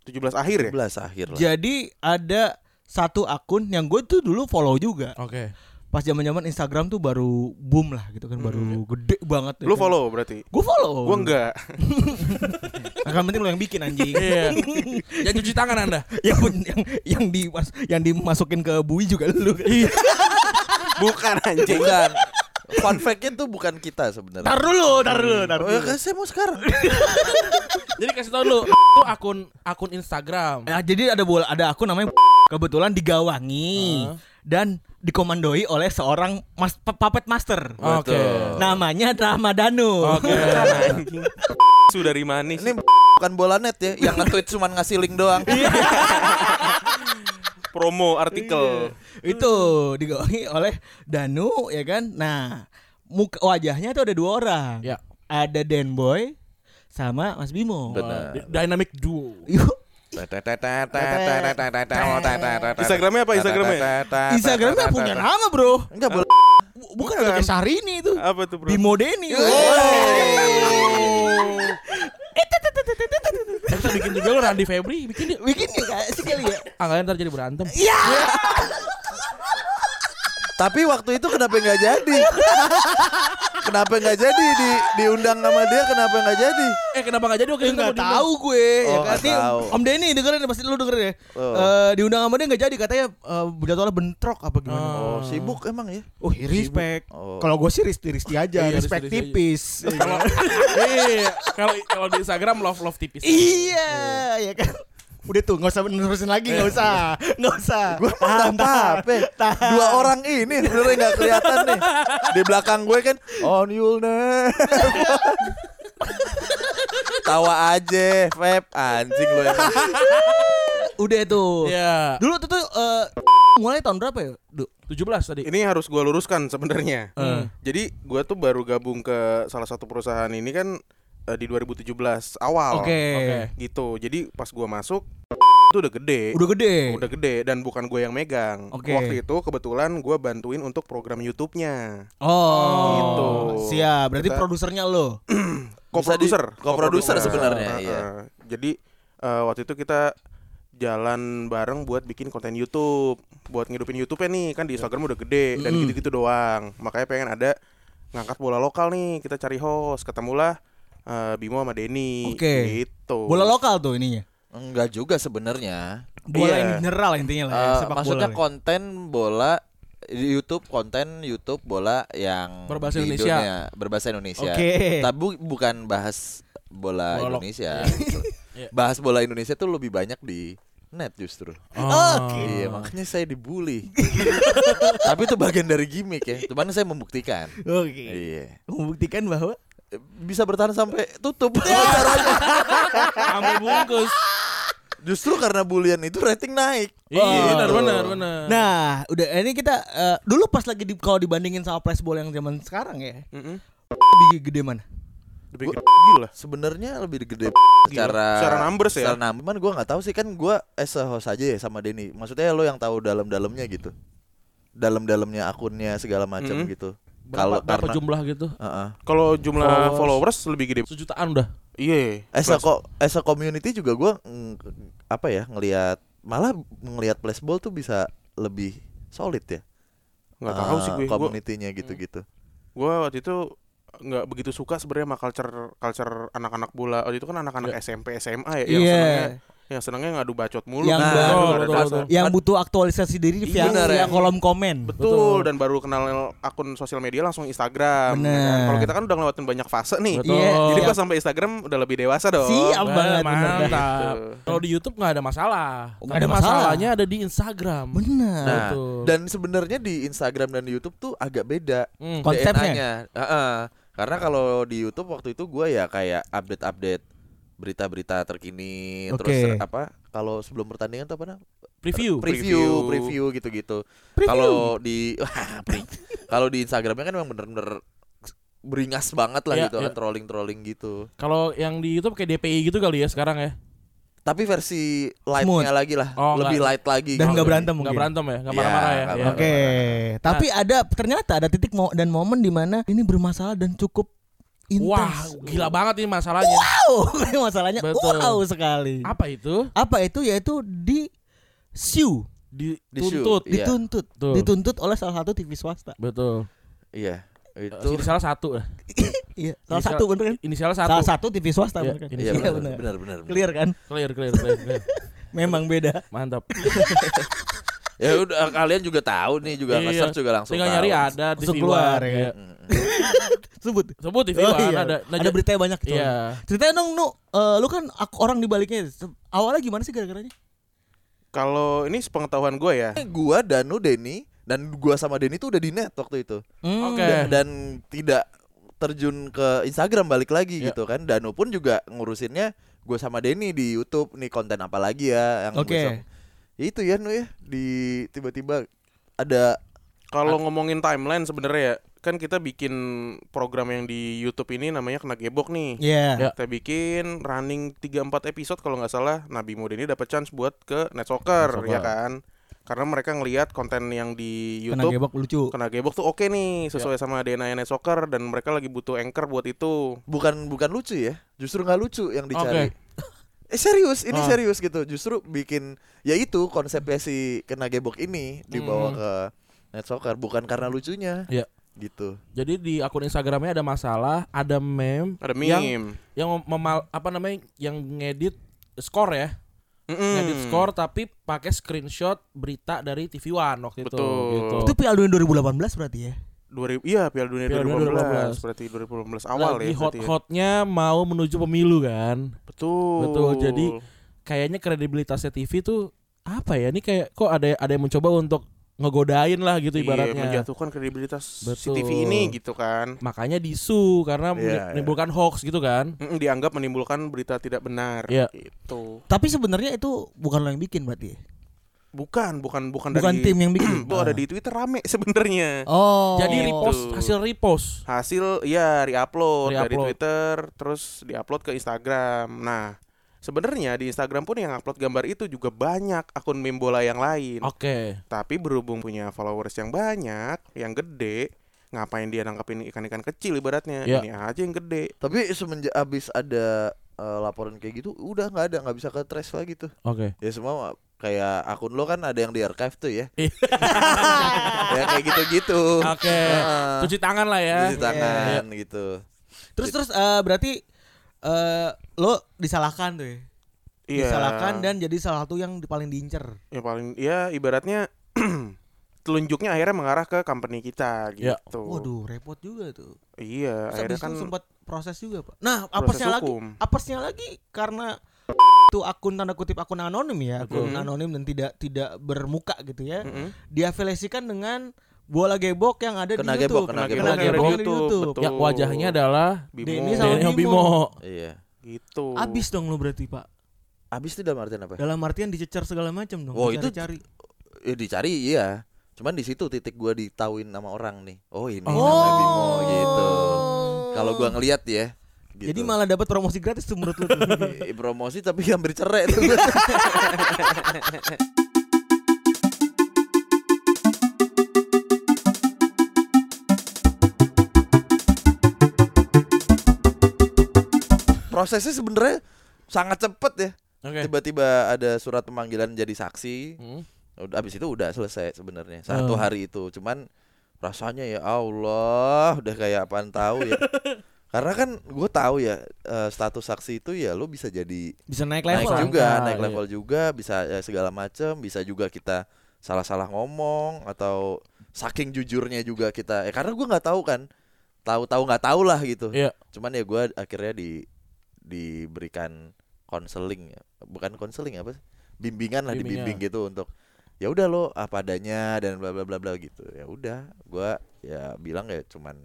Speaker 5: 17 akhir ya?
Speaker 4: 11 akhir lah
Speaker 3: Jadi ada satu akun yang gue tuh dulu follow juga.
Speaker 2: Oke.
Speaker 3: Pas zaman-zaman Instagram tuh baru boom lah gitu kan, baru gede banget. ya kan.
Speaker 5: Lu follow berarti?
Speaker 3: Gue follow.
Speaker 2: Oh,
Speaker 5: Gua <laughs> enggak.
Speaker 3: <laughs> Akan penting lu yang bikin anjing.
Speaker 2: Iya. Jangan cuci tangan Anda.
Speaker 3: <laughs> yang yang yang dimas yang dimasukin ke bui juga lu.
Speaker 5: Bukan anjing.
Speaker 4: Bukan Fun fact-nya tuh bukan kita sebenarnya
Speaker 3: Tar dulu, tar dulu, tar
Speaker 4: Oh
Speaker 3: dulu.
Speaker 4: ya kan saya mau sekarang
Speaker 2: Jadi kasih tau lu itu akun akun Instagram.
Speaker 3: Nah, jadi ada bola, ada aku namanya <laughs> kebetulan digawangi dan dikomandoi oleh seorang mas, pa- puppet master.
Speaker 2: Oke.
Speaker 3: Namanya Ramadhanu.
Speaker 2: Oh. Oke.
Speaker 5: anjing. Su dari manis.
Speaker 4: Ini <laughs> bukan bola net ya Yang nge-tweet cuma ngasih link doang
Speaker 5: promo
Speaker 4: Iya.
Speaker 5: artikel.
Speaker 3: <laughs> Itu digawangi oleh Danu ya kan. Nah, muka wajahnya tuh ada dua orang.
Speaker 2: Ya.
Speaker 3: Ada Dan Boy sama Mas Bimo.
Speaker 4: Benar
Speaker 2: Dynamic duo.
Speaker 3: Yuk,
Speaker 5: Instagramnya apa Instagramnya?
Speaker 3: Instagramnya punya nama, Bro.
Speaker 4: Enggak boleh
Speaker 3: Bu- Bukan, ada kayak Syahrini itu.
Speaker 5: Apa tuh, Bro?
Speaker 3: Bimo Deni. Eh,
Speaker 2: Kita bikin juga lu Randy Febri, bikin dia.
Speaker 3: Bikin ya Kak? sekali ya.
Speaker 2: Angkanya ntar jadi berantem.
Speaker 3: Iya.
Speaker 4: Tapi waktu itu kenapa nggak jadi? kenapa nggak jadi di diundang sama dia kenapa nggak jadi?
Speaker 2: Eh kenapa gak jadi waktu
Speaker 3: Ya
Speaker 2: itu
Speaker 3: nggak
Speaker 2: mau
Speaker 3: tahu gue ya
Speaker 4: Oh,
Speaker 3: kan
Speaker 4: nggak
Speaker 3: Nih,
Speaker 4: tahu.
Speaker 3: Om Denny dengerin pasti lu dengerin ya.
Speaker 4: Oh.
Speaker 3: Eh, diundang sama dia nggak jadi katanya eh, jadwalnya bentrok apa gimana.
Speaker 2: Oh.
Speaker 4: Oh, sibuk emang ya.
Speaker 3: Oh, respect.
Speaker 4: Oh.
Speaker 3: Kalau gue sih risti-risti aja,
Speaker 2: Iya,
Speaker 3: respect
Speaker 2: risti-risti aja.
Speaker 3: <laughs> tipis.
Speaker 2: di- Kalau iya, kalau kalau di Instagram love love tipis.
Speaker 3: iya, ya kan. Udah tuh, nggak usah nerusin lagi, nggak usah, <laughs> nggak usah.
Speaker 4: Gue tahan apa Dua orang ini sebenarnya nggak kelihatan nih. Di belakang gue kan on you Tawa aja, Feb anjing lu emang.
Speaker 3: Udah tuh.
Speaker 2: Iya.
Speaker 3: Dulu tuh tuh eh, mulai tahun berapa ya? Duh.
Speaker 2: 17 tadi.
Speaker 5: Ini harus gua luruskan sebenarnya.
Speaker 3: Hmm.
Speaker 2: Eh.
Speaker 5: Jadi gua tuh baru gabung ke salah satu perusahaan ini kan eh, di 2017 awal.
Speaker 3: Oke.
Speaker 2: Oke.
Speaker 5: Gitu. Jadi pas gua masuk itu udah gede.
Speaker 3: Udah gede.
Speaker 5: Udah gede dan bukan gue yang megang.
Speaker 3: Oke.
Speaker 5: Waktu itu kebetulan gua bantuin untuk program YouTube-nya.
Speaker 3: Oh,
Speaker 5: Gitu.
Speaker 3: Siap, berarti
Speaker 5: Kita-
Speaker 3: produsernya lo.
Speaker 4: Bisa di-
Speaker 5: Co-producer,
Speaker 4: co-producer
Speaker 5: Co-producer.
Speaker 4: sebenarnya,
Speaker 5: Heeh.
Speaker 4: iya.
Speaker 5: Jadi eh, waktu itu kita jalan bareng buat bikin konten YouTube, buat ngidupin YouTube-nya nih kan di Instagram udah gede dan gitu-gitu doang. Makanya pengen ada ngangkat bola lokal nih, kita cari host, ketemulah eh, Bimo sama Denny
Speaker 3: Oke.
Speaker 5: gitu.
Speaker 3: Bola lokal tuh ininya.
Speaker 4: Enggak juga sebenarnya.
Speaker 3: Bola
Speaker 5: Iya.
Speaker 3: yang mineral intinya lah. ya,
Speaker 4: Eh,
Speaker 3: sepak
Speaker 4: maksudnya
Speaker 3: bola.
Speaker 4: konten bola di YouTube konten YouTube bola yang
Speaker 2: Berbahasa
Speaker 4: di
Speaker 2: Indonesia.
Speaker 4: dunia, berbahasa Indonesia.
Speaker 3: Oke.
Speaker 4: Tapi bu- bukan bahas bola
Speaker 2: Bola lo-
Speaker 4: Indonesia.
Speaker 2: Iya.
Speaker 4: bahas bola Indonesia tuh lebih banyak di net justru.
Speaker 3: Oh.
Speaker 2: Oke.
Speaker 4: Iya, makanya saya dibully. <laughs> Tapi itu bagian dari gimmick ya. Cuman saya membuktikan.
Speaker 3: Oke.
Speaker 4: Iya.
Speaker 3: Membuktikan bahwa
Speaker 4: Bisa bertahan sampai
Speaker 2: <laughs>
Speaker 4: tutup
Speaker 2: Ya.
Speaker 4: acaranya.
Speaker 2: Ambil bungkus.
Speaker 4: Justru karena bulian itu rating naik.
Speaker 2: Iya,
Speaker 4: Gitu.
Speaker 2: benar benar benar.
Speaker 3: Nah, udah ini kita eh, dulu pas lagi di, kalau dibandingin sama press ball yang zaman sekarang ya,
Speaker 5: Mm-mm.
Speaker 3: lebih gede mana?
Speaker 5: Lebih gede lah.
Speaker 4: sebenarnya lebih gede
Speaker 2: Iya.
Speaker 5: Gila.
Speaker 4: secara
Speaker 5: Secara numbers ya?
Speaker 4: Secara number, cuman gue nggak tahu sih kan gue as a host aja ya sama Denny. Maksudnya lo yang tahu dalam-dalamnya gitu. Dalam-dalamnya akunnya segala macam
Speaker 5: Mm-mm.
Speaker 4: gitu.
Speaker 2: Hmm. Berapa,
Speaker 4: Kalau
Speaker 2: berapa
Speaker 4: karena-
Speaker 2: jumlah gitu?
Speaker 4: Heeh.
Speaker 5: Kalau jumlah
Speaker 2: Followers.
Speaker 5: followers lebih gede.
Speaker 2: Sejutaan udah.
Speaker 5: Iya.
Speaker 4: As a,
Speaker 5: Plus-
Speaker 4: co- as a community juga gue apa ya ngelihat malah ngelihat flashball tuh bisa lebih solid ya.
Speaker 5: nggak tahu
Speaker 4: Eh,
Speaker 5: sih gue. Gue
Speaker 4: Community-nya gitu-gitu.
Speaker 5: gue waktu itu nggak begitu suka sebenarnya sama culture culture anak-anak bola waktu itu kan anak-anak SMP SMA ya yang
Speaker 3: Iya.
Speaker 5: senengnya yang senengnya ngadu bacot mulu
Speaker 3: Yang
Speaker 5: gitu,
Speaker 3: baru, Iya,
Speaker 5: nggak ada
Speaker 2: betul,
Speaker 5: dasar.
Speaker 2: betul.
Speaker 3: Yang butuh aktualisasi diri via,
Speaker 4: Bener
Speaker 3: via
Speaker 4: ya.
Speaker 3: kolom komen.
Speaker 5: betul. dan baru kenal akun sosial media langsung Instagram
Speaker 3: Bener.
Speaker 5: kan. kalau kita kan udah ngelewatin banyak fase nih
Speaker 2: Betul.
Speaker 3: Iya.
Speaker 5: jadi pas
Speaker 3: siap.
Speaker 5: sampai Instagram udah lebih dewasa dong
Speaker 3: Siap
Speaker 2: Wah,
Speaker 3: banget bener dah.
Speaker 2: mantap.
Speaker 5: Gitu.
Speaker 2: Kalau di YouTube nggak ada masalah.
Speaker 3: Oh, nggak ada
Speaker 2: Tapi
Speaker 3: masalah.
Speaker 2: Masalahnya ada di Instagram.
Speaker 3: Bener.
Speaker 4: Nah,
Speaker 2: Betul.
Speaker 4: dan sebenarnya di Instagram dan di YouTube tuh agak beda
Speaker 2: Hmm.
Speaker 3: Konsepnya?
Speaker 4: DNA-nya. Heeh. Karena kalau di YouTube waktu itu gue ya kayak update-update berita-berita terkini
Speaker 3: Oke.
Speaker 4: terus ter- apa kalau sebelum pertandingan tuh apa namanya?
Speaker 2: Preview.
Speaker 4: Preview, preview gitu-gitu. Kalau di <laughs> pre- kalau di Instagramnya kan memang bener-bener beringas banget lah
Speaker 2: Iya,
Speaker 4: gitu kan
Speaker 2: iya.
Speaker 4: trolling-trolling gitu.
Speaker 2: Kalau yang di YouTube kayak DPI gitu kali ya sekarang ya.
Speaker 4: Tapi versi light-nya lagi lah,
Speaker 2: Oh,
Speaker 4: lebih light lagi.
Speaker 3: Dan
Speaker 4: gitu.
Speaker 3: nggak berantem mungkin.
Speaker 2: Nggak berantem ya, nggak marah-marah
Speaker 4: Iya,
Speaker 2: ya.
Speaker 4: nggak
Speaker 2: Iya.
Speaker 3: Oke, tapi ada ternyata ada titik mo dan momen di mana ini bermasalah dan cukup
Speaker 2: Wah,
Speaker 3: intens.
Speaker 2: gila banget ini masalahnya.
Speaker 3: Wow, <laughs> masalahnya
Speaker 2: Betul.
Speaker 3: wow sekali.
Speaker 2: Apa itu?
Speaker 3: Apa itu? Yaitu di siu,
Speaker 2: Dituntut.
Speaker 4: Iya.
Speaker 3: dituntut,
Speaker 2: Betul.
Speaker 3: dituntut oleh salah satu TV swasta.
Speaker 2: Betul.
Speaker 4: Iya,
Speaker 2: Eh,
Speaker 4: itu
Speaker 2: Ini salah satu.
Speaker 3: Iya, salah
Speaker 2: Inisial-
Speaker 3: satu bener kan?
Speaker 2: Inisial
Speaker 3: Salah
Speaker 2: satu.
Speaker 3: satu TV swasta
Speaker 2: Iya,
Speaker 3: bener kan?
Speaker 2: ini
Speaker 4: Iya
Speaker 3: Iya, bener.
Speaker 4: benar benar. benar.
Speaker 3: Clear kan?
Speaker 2: Clear, clear, clear, clear.
Speaker 3: Memang beda.
Speaker 2: Mantap.
Speaker 3: <laughs>
Speaker 4: Ya udah kalian juga tahu nih juga
Speaker 2: Iya.
Speaker 4: nge-search juga langsung.
Speaker 2: Tinggal
Speaker 4: tahu.
Speaker 2: nyari ada di
Speaker 3: Langsung
Speaker 2: TV
Speaker 3: keluar,
Speaker 2: One,
Speaker 3: ya.
Speaker 2: iya.
Speaker 3: Sebut.
Speaker 2: Sebut TV
Speaker 3: Oh,
Speaker 2: One,
Speaker 3: iya.
Speaker 2: ada.
Speaker 3: ada, berita yang banyak itu.
Speaker 2: Iya.
Speaker 3: Ceritain dong, Nu. Eh, lu kan ak- orang di baliknya. Se- Awalnya gimana sih gara-garanya?
Speaker 5: kalau ini sepengetahuan gue ya
Speaker 4: Gua Danu Denny dan gua sama Denny tuh udah di net waktu itu.
Speaker 3: Hmm.
Speaker 2: Oke.
Speaker 4: Da- Dan tidak terjun ke Instagram balik lagi
Speaker 2: Iya.
Speaker 4: gitu kan. Danu pun juga ngurusinnya gua sama Denny di YouTube nih konten apa lagi ya yang
Speaker 3: Oke.
Speaker 4: besok. Ya itu ya Nu ya di tiba-tiba ada
Speaker 3: Ah.
Speaker 5: kalau ngomongin timeline sebenarnya ya kan kita bikin program yang di YouTube ini namanya kena gebok nih
Speaker 3: Iya.
Speaker 2: Ya.
Speaker 5: Kita bikin running 3-4 episode kalau nggak salah Nah, Nabi Muda ini dapat chance buat ke Net Soccer, ya kan? Karena mereka ngelihat konten yang di
Speaker 3: Kena
Speaker 5: YouTube
Speaker 3: gebok lucu.
Speaker 5: kena gebok tuh oke nih
Speaker 2: Ya.
Speaker 5: sesuai sama DNA Net Soccer dan mereka lagi butuh anchor buat itu.
Speaker 4: bukan bukan lucu ya. Justru nggak lucu yang dicari.
Speaker 2: Oke.
Speaker 4: Eh serius, ini
Speaker 2: Ah.
Speaker 4: serius gitu. Justru bikin ya itu konsepnya si kena gebok ini dibawa
Speaker 2: Hmm.
Speaker 4: ke net soccer bukan karena lucunya.
Speaker 2: Iya.
Speaker 4: Gitu.
Speaker 2: Jadi di akun Instagramnya ada masalah, ada meme,
Speaker 5: Ada
Speaker 2: yang
Speaker 5: meme.
Speaker 2: yang memal apa namanya yang ngedit skor ya,
Speaker 5: Mm-mm.
Speaker 2: ngedit skor tapi pakai screenshot berita dari TV One waktu itu.
Speaker 5: Betul.
Speaker 2: Gitu.
Speaker 3: Itu Piala Dunia 2018 berarti ya?
Speaker 5: 2000 iya Piala Dunia
Speaker 2: Piala Dunia
Speaker 5: 2018, berarti 2018
Speaker 2: Lagi
Speaker 5: awal ya. berarti ya.
Speaker 2: hot-hotnya mau menuju pemilu kan.
Speaker 5: Betul.
Speaker 2: Betul, jadi- Kayaknya kredibilitasnya TV tuh apa ya? Ini kayak kok ada ada yang mencoba untuk ngegodain lah gitu
Speaker 5: Iya,
Speaker 2: ibaratnya.
Speaker 5: menjatuhkan kredibilitas si
Speaker 2: Betul.
Speaker 5: TV ini gitu kan.
Speaker 2: Makanya disu karena
Speaker 4: Iya,
Speaker 2: menimbulkan hoax gitu kan.
Speaker 5: Mm-mm, dianggap menimbulkan berita tidak benar
Speaker 2: Iya.
Speaker 5: gitu.
Speaker 3: Tapi sebenarnya itu bukan lo yang bikin berarti. ya?
Speaker 5: Bukan, bukan bukan
Speaker 3: Bukan
Speaker 5: Kan dari
Speaker 3: tim yang bikin.
Speaker 5: Bu ada di Twitter rame <laughs> sebenarnya.
Speaker 3: Oh.
Speaker 2: Jadi repost
Speaker 5: Gitu.
Speaker 2: hasil repost.
Speaker 5: Hasil ya re-upload dari
Speaker 2: Re-upload.
Speaker 5: Twitter terus diupload ke Instagram. Nah, sebenarnya di Instagram pun yang upload gambar itu juga banyak akun meme bola yang lain.
Speaker 2: Oke.
Speaker 5: Tapi berhubung punya followers yang banyak, yang gede, ngapain dia nangkepin ikan-ikan kecil ibaratnya.
Speaker 2: Iya.
Speaker 5: Ini aja yang gede.
Speaker 4: Tapi semenjak abis ada eh, laporan kayak gitu, udah nggak ada, nggak bisa ke trace lagi tuh.
Speaker 2: Oke.
Speaker 4: Ya semua kayak akun lo kan ada yang di archive tuh ya.
Speaker 2: Iya.
Speaker 4: ya kayak gitu-gitu.
Speaker 2: Oke.
Speaker 4: Heeh.
Speaker 2: Cuci tangan lah ya.
Speaker 4: Cuci tangan gitu.
Speaker 3: Terus terus eh, berarti eh, lo disalahkan tuh. Ya? Disalahkan dan jadi salah satu yang di- paling diincer.
Speaker 5: yang paling ya ibaratnya <clears throat> telunjuknya akhirnya mengarah ke company kita gitu.
Speaker 2: Iya.
Speaker 3: Waduh, repot juga tuh. Terus
Speaker 5: Iya, akhirnya
Speaker 3: habis
Speaker 5: kan
Speaker 3: itu sempat proses juga, Pak. Nah,
Speaker 5: proses
Speaker 3: apesnya lagi?
Speaker 5: hukum.
Speaker 3: Apesnya lagi karena itu akun tanda kutip akun anonim ya, akun
Speaker 5: Betul.
Speaker 3: anonim dan tidak tidak bermuka gitu ya.
Speaker 5: Mm-mm.
Speaker 3: Diafiliasikan dengan bola gebok yang ada
Speaker 4: Kena
Speaker 3: di YouTube.
Speaker 4: gebok, kena
Speaker 5: Kena
Speaker 4: gebok.
Speaker 5: gebok,
Speaker 3: Kena gebok
Speaker 5: dari
Speaker 3: yang di YouTube.
Speaker 5: betul.
Speaker 2: Yang Ya, wajahnya adalah
Speaker 5: Bimo.
Speaker 3: Denny sama
Speaker 2: Denny
Speaker 3: Bimo.
Speaker 2: Bimo.
Speaker 4: Iya.
Speaker 5: gitu.
Speaker 3: Abis dong lo berarti, Pak.
Speaker 4: Abis itu dalam artian apa?
Speaker 3: Dalam artian dicecer segala macam
Speaker 5: Oh,
Speaker 3: dong.
Speaker 4: Wow, itu-
Speaker 3: cari.
Speaker 5: gitu.
Speaker 4: Ya dicari iya. Cuman di situ titik gua ditahuin nama orang nih. Oh ini namanya Bimo
Speaker 3: Oh.
Speaker 4: gitu. Kalau gua ngeliat ya. Gitu.
Speaker 3: Jadi malah dapat promosi gratis tuh menurut lu. tuh.
Speaker 5: <laughs>
Speaker 4: Eh, promosi tapi hampir cerai tuh. <laughs> prosesnya sebenarnya sangat cepet ya.
Speaker 2: Oke.
Speaker 4: Tiba-tiba ada surat pemanggilan jadi saksi.
Speaker 2: Hmm.
Speaker 4: Udah abis itu udah selesai sebenarnya satu
Speaker 2: Hmm.
Speaker 4: hari itu. Cuman rasanya ya Allah udah kayak apaan tahu ya. Karena kan gue tahu ya eh, status saksi itu ya lo bisa jadi
Speaker 3: Bisa naik
Speaker 4: naik
Speaker 3: level.
Speaker 4: juga,
Speaker 2: Ah,
Speaker 4: naik
Speaker 2: iya.
Speaker 4: level juga, bisa eh, segala macem, bisa juga kita salah-salah ngomong atau saking jujurnya juga kita. Eh karena gua nggak tahu kan, tahu-tahu nggak tahu lah gitu.
Speaker 2: Iya.
Speaker 4: Cuman ya gua akhirnya di diberikan konseling, ya. bukan konseling apa sih? Bimbingan lah,
Speaker 2: Bimbingan.
Speaker 4: dibimbing gitu untuk ya udah lo apa adanya dan bla bla bla bla gitu. Ya udah, gua ya bilang ya cuman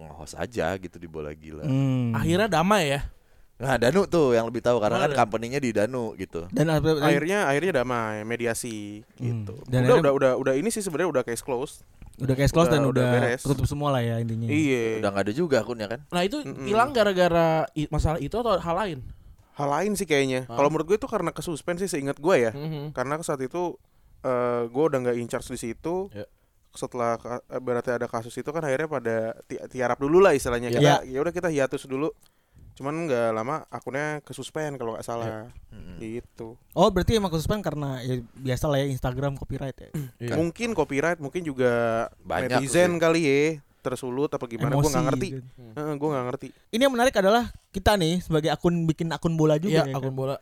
Speaker 4: ngehos aja gitu di bola gila.
Speaker 3: Hmm.
Speaker 2: Akhirnya damai ya.
Speaker 4: Nah, Danu tuh yang lebih tahu karena kan
Speaker 2: Mana?
Speaker 4: company-nya di Danu gitu.
Speaker 3: dan akhirnya
Speaker 5: akhirnya akhirnya damai mediasi gitu
Speaker 3: Dan
Speaker 5: udah,
Speaker 3: akhirnya-
Speaker 5: udah udah udah ini sih sebenarnya udah case close
Speaker 3: udah case close
Speaker 5: Udah-
Speaker 3: dan
Speaker 5: udah
Speaker 3: udah,
Speaker 5: beres.
Speaker 3: tutup semua lah ya intinya.
Speaker 5: iya
Speaker 4: Udah nggak ada juga akunnya kan?
Speaker 2: Nah itu
Speaker 3: Hmm.
Speaker 5: Mm-mm.
Speaker 2: hilang gara-gara i- masalah itu atau hal lain?
Speaker 5: hal lain sih kayaknya
Speaker 2: Ah.
Speaker 5: kalau menurut gue itu karena kesuspen sih seingat gue ya
Speaker 3: Hmm.
Speaker 2: Mhm.
Speaker 5: karena saat itu eh gue udah nggak in charge di situ
Speaker 2: Ya.
Speaker 5: setelah ka- eh, berarti ada kasus itu kan akhirnya pada ti tiarap dulu lah istilahnya
Speaker 3: Ya.
Speaker 5: kita ya udah kita hiatus dulu cuman nggak lama akunnya kesuspen kalau nggak salah gitu
Speaker 3: Oh berarti emang kesuspend karena ya, biasa lah ya Instagram copyright ya.
Speaker 2: Iya.
Speaker 5: mungkin copyright mungkin juga
Speaker 4: Banyak
Speaker 5: netizen kali ya tersulut apa <clears throat> gimana gue nggak ngerti
Speaker 3: gitu.
Speaker 5: Heeh, gue nggak ngerti
Speaker 3: Ini yang menarik adalah kita nih sebagai akun bikin akun bola juga
Speaker 2: Iya,
Speaker 3: ya,
Speaker 2: akun
Speaker 3: kan?
Speaker 2: bola.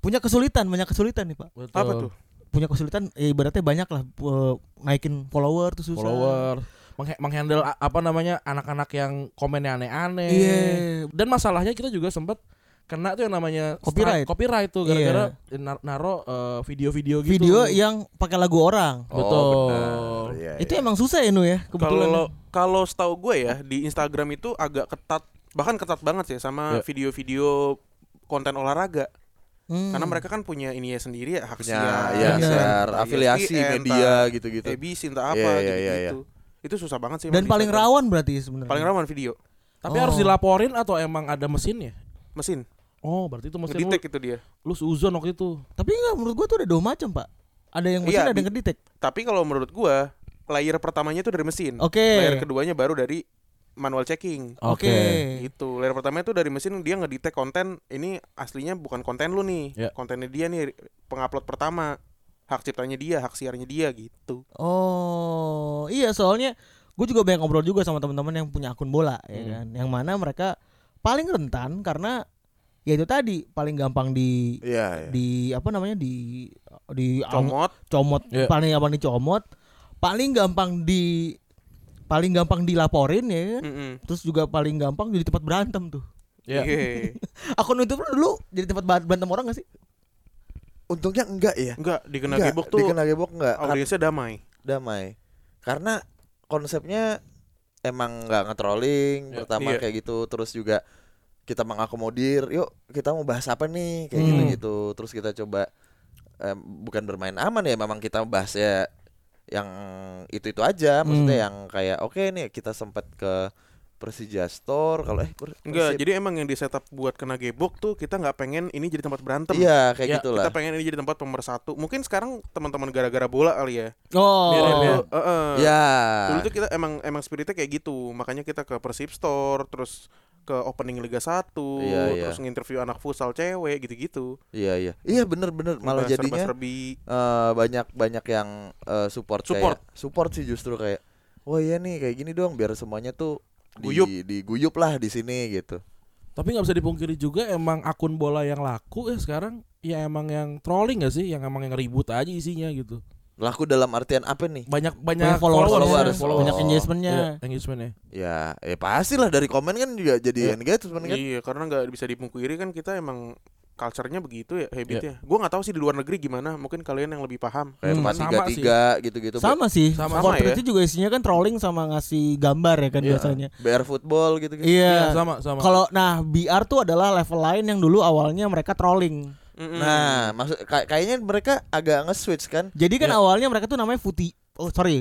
Speaker 3: punya kesulitan banyak kesulitan nih pak.
Speaker 2: Betul.
Speaker 5: apa tuh
Speaker 3: Punya kesulitan eh, ibaratnya banyak lah eh, naikin follower tuh susah.
Speaker 2: Follower. Mengha- menghandle a- apa namanya anak-anak yang komennya aneh-aneh.
Speaker 3: Iya.
Speaker 2: Dan masalahnya kita juga sempat kena tuh yang namanya
Speaker 3: Copyright. Iya.
Speaker 2: strike- copyright tuh gara-gara nar- naro eh, video-video gitu.
Speaker 3: Video iya. yang pakai lagu orang.
Speaker 5: Oh,
Speaker 2: betul.
Speaker 4: Oh, Iya,
Speaker 3: itu
Speaker 4: iya.
Speaker 3: emang susah ya Nu ya kebetulan.
Speaker 5: Kalau kalau setahu gue ya di Instagram itu agak ketat bahkan ketat banget sih sama
Speaker 2: Ya.
Speaker 5: video-video konten olahraga
Speaker 3: Hmm.
Speaker 5: karena mereka kan punya ininya sendiri ya hak
Speaker 4: punya
Speaker 5: siar,
Speaker 4: ya,
Speaker 3: Iya.
Speaker 4: share,
Speaker 5: entah
Speaker 4: afiliasi
Speaker 5: ESPN,
Speaker 4: media
Speaker 5: entah
Speaker 4: gitu-gitu.
Speaker 5: EBS entah apa
Speaker 4: Iya, iya,
Speaker 5: gitu,
Speaker 4: iya, iya.
Speaker 5: itu susah banget sih
Speaker 3: dan
Speaker 5: emang di
Speaker 3: paling
Speaker 5: Instagram.
Speaker 3: rawan berarti sebenarnya.
Speaker 5: paling rawan video
Speaker 2: Tapi
Speaker 3: Oh.
Speaker 2: harus dilaporin atau emang ada mesinnya?
Speaker 5: mesin
Speaker 2: Oh, berarti itu mesin lu,
Speaker 5: ngedetect itu dia
Speaker 2: lu seuzon waktu itu.
Speaker 3: Tapi enggak menurut gua tuh ada dua macam, Pak. Ada yang mesin
Speaker 5: Iya,
Speaker 3: ada yang
Speaker 5: di-
Speaker 3: ngedetek.
Speaker 5: tapi kalau menurut gue layer pertamanya itu dari mesin
Speaker 3: Oke.
Speaker 5: layer keduanya baru dari manual checking
Speaker 3: Oke.
Speaker 5: gitu layer pertama itu dari mesin dia ngedetect konten ini aslinya bukan konten lu nih
Speaker 2: Ya.
Speaker 5: kontennya dia nih pengupload pertama hak ciptanya dia hak siarnya dia gitu
Speaker 3: Oh, iya soalnya gue juga banyak ngobrol juga sama teman-teman yang punya akun bola ya kan. Yang mana mereka paling rentan karena ya itu tadi paling gampang di
Speaker 4: Iya, iya.
Speaker 3: di apa namanya di di
Speaker 5: comot
Speaker 3: comot
Speaker 2: Iya.
Speaker 3: paling apa nih comot paling gampang di paling gampang dilaporin ya kan?
Speaker 5: Mm-mm.
Speaker 3: terus juga paling gampang jadi tempat berantem tuh
Speaker 2: Iya.
Speaker 5: Iya.
Speaker 3: akun itu dulu jadi tempat ba- berantem orang gak sih
Speaker 4: Untungnya enggak ya.
Speaker 5: enggak dikena
Speaker 4: Enggak,
Speaker 5: gebok tuh
Speaker 4: dikena gebok enggak Kar-
Speaker 5: audiensnya damai
Speaker 4: damai. Karena konsepnya emang enggak nge-trolling
Speaker 2: Iya.
Speaker 4: pertama
Speaker 5: Iya.
Speaker 4: kayak gitu, terus juga kita mengakomodir, yuk kita mau bahas apa nih kayak
Speaker 2: Hmm.
Speaker 4: gitu-gitu. Terus kita coba em, bukan bermain aman ya, memang kita bahas ya yang itu-itu aja, maksudnya
Speaker 3: Hmm.
Speaker 4: yang kayak oke nih kita sempat ke Persija Store kalau eh Pers-
Speaker 5: enggak
Speaker 4: Persib-
Speaker 5: jadi emang yang di setup buat kena gebok tuh kita nggak pengen ini jadi tempat berantem
Speaker 4: Iya
Speaker 2: Ya,
Speaker 4: kayak gitulah.
Speaker 5: kita pengen ini jadi tempat pemersatu mungkin sekarang teman-teman gara-gara bola kali ya
Speaker 3: oh
Speaker 2: Biar-
Speaker 5: Dulu-
Speaker 2: biar-
Speaker 5: eh, eh.
Speaker 4: Ya.
Speaker 5: dulu tuh kita emang emang spiritnya kayak gitu makanya kita ke Persib Store terus ke opening Liga 1
Speaker 4: Iya, iya.
Speaker 5: terus nginterview anak futsal cewek gitu-gitu
Speaker 4: Iya iya. Iya bener-bener malah
Speaker 5: Serba-
Speaker 4: jadinya
Speaker 5: serba-serbi.
Speaker 4: eh, banyak banyak yang eh, support
Speaker 5: Support.
Speaker 4: kayak support sih justru kayak wah iya nih kayak gini dong biar semuanya tuh di-
Speaker 5: Guyup.
Speaker 4: diguyup lah di sini gitu.
Speaker 2: Tapi nggak bisa dipungkiri juga emang akun bola yang laku ya sekarang ya emang yang trolling gak sih? Yang emang yang ribut aja isinya gitu.
Speaker 4: Laku dalam artian apa nih?
Speaker 2: Banyak banyak,
Speaker 3: banyak followers,
Speaker 4: followers,
Speaker 2: followers.
Speaker 4: followers.
Speaker 3: banyak
Speaker 4: Oh.
Speaker 3: engagementnya
Speaker 2: Iya, engagementnya.
Speaker 4: Ya, eh pastilah dari komen kan juga jadi engagement kan.
Speaker 5: Iya, karena nggak bisa dipungkiri kan kita emang culture-nya begitu ya
Speaker 4: Iya.
Speaker 5: habitnya. Gua nggak tahu sih di luar negeri gimana. Mungkin kalian yang lebih paham.
Speaker 4: Kayak
Speaker 3: Hmm,
Speaker 4: empat
Speaker 2: sama
Speaker 4: tiga tiga gitu-gitu. eh,
Speaker 3: sama sih
Speaker 2: Sama-
Speaker 3: sama,
Speaker 5: sama ya.
Speaker 3: juga isinya kan trolling sama ngasih gambar ya kan
Speaker 2: Iya.
Speaker 3: biasanya
Speaker 4: BR football gitu-gitu.
Speaker 2: Iya,
Speaker 3: iya
Speaker 2: sama sama.
Speaker 3: kalau nah BR tuh adalah level lain yang dulu awalnya mereka trolling
Speaker 5: Mm-mm.
Speaker 4: Nah, maksud kay- kayaknya mereka agak nge-switch kan.
Speaker 3: jadi kan
Speaker 2: Iya.
Speaker 3: awalnya mereka tuh namanya footy oh sorry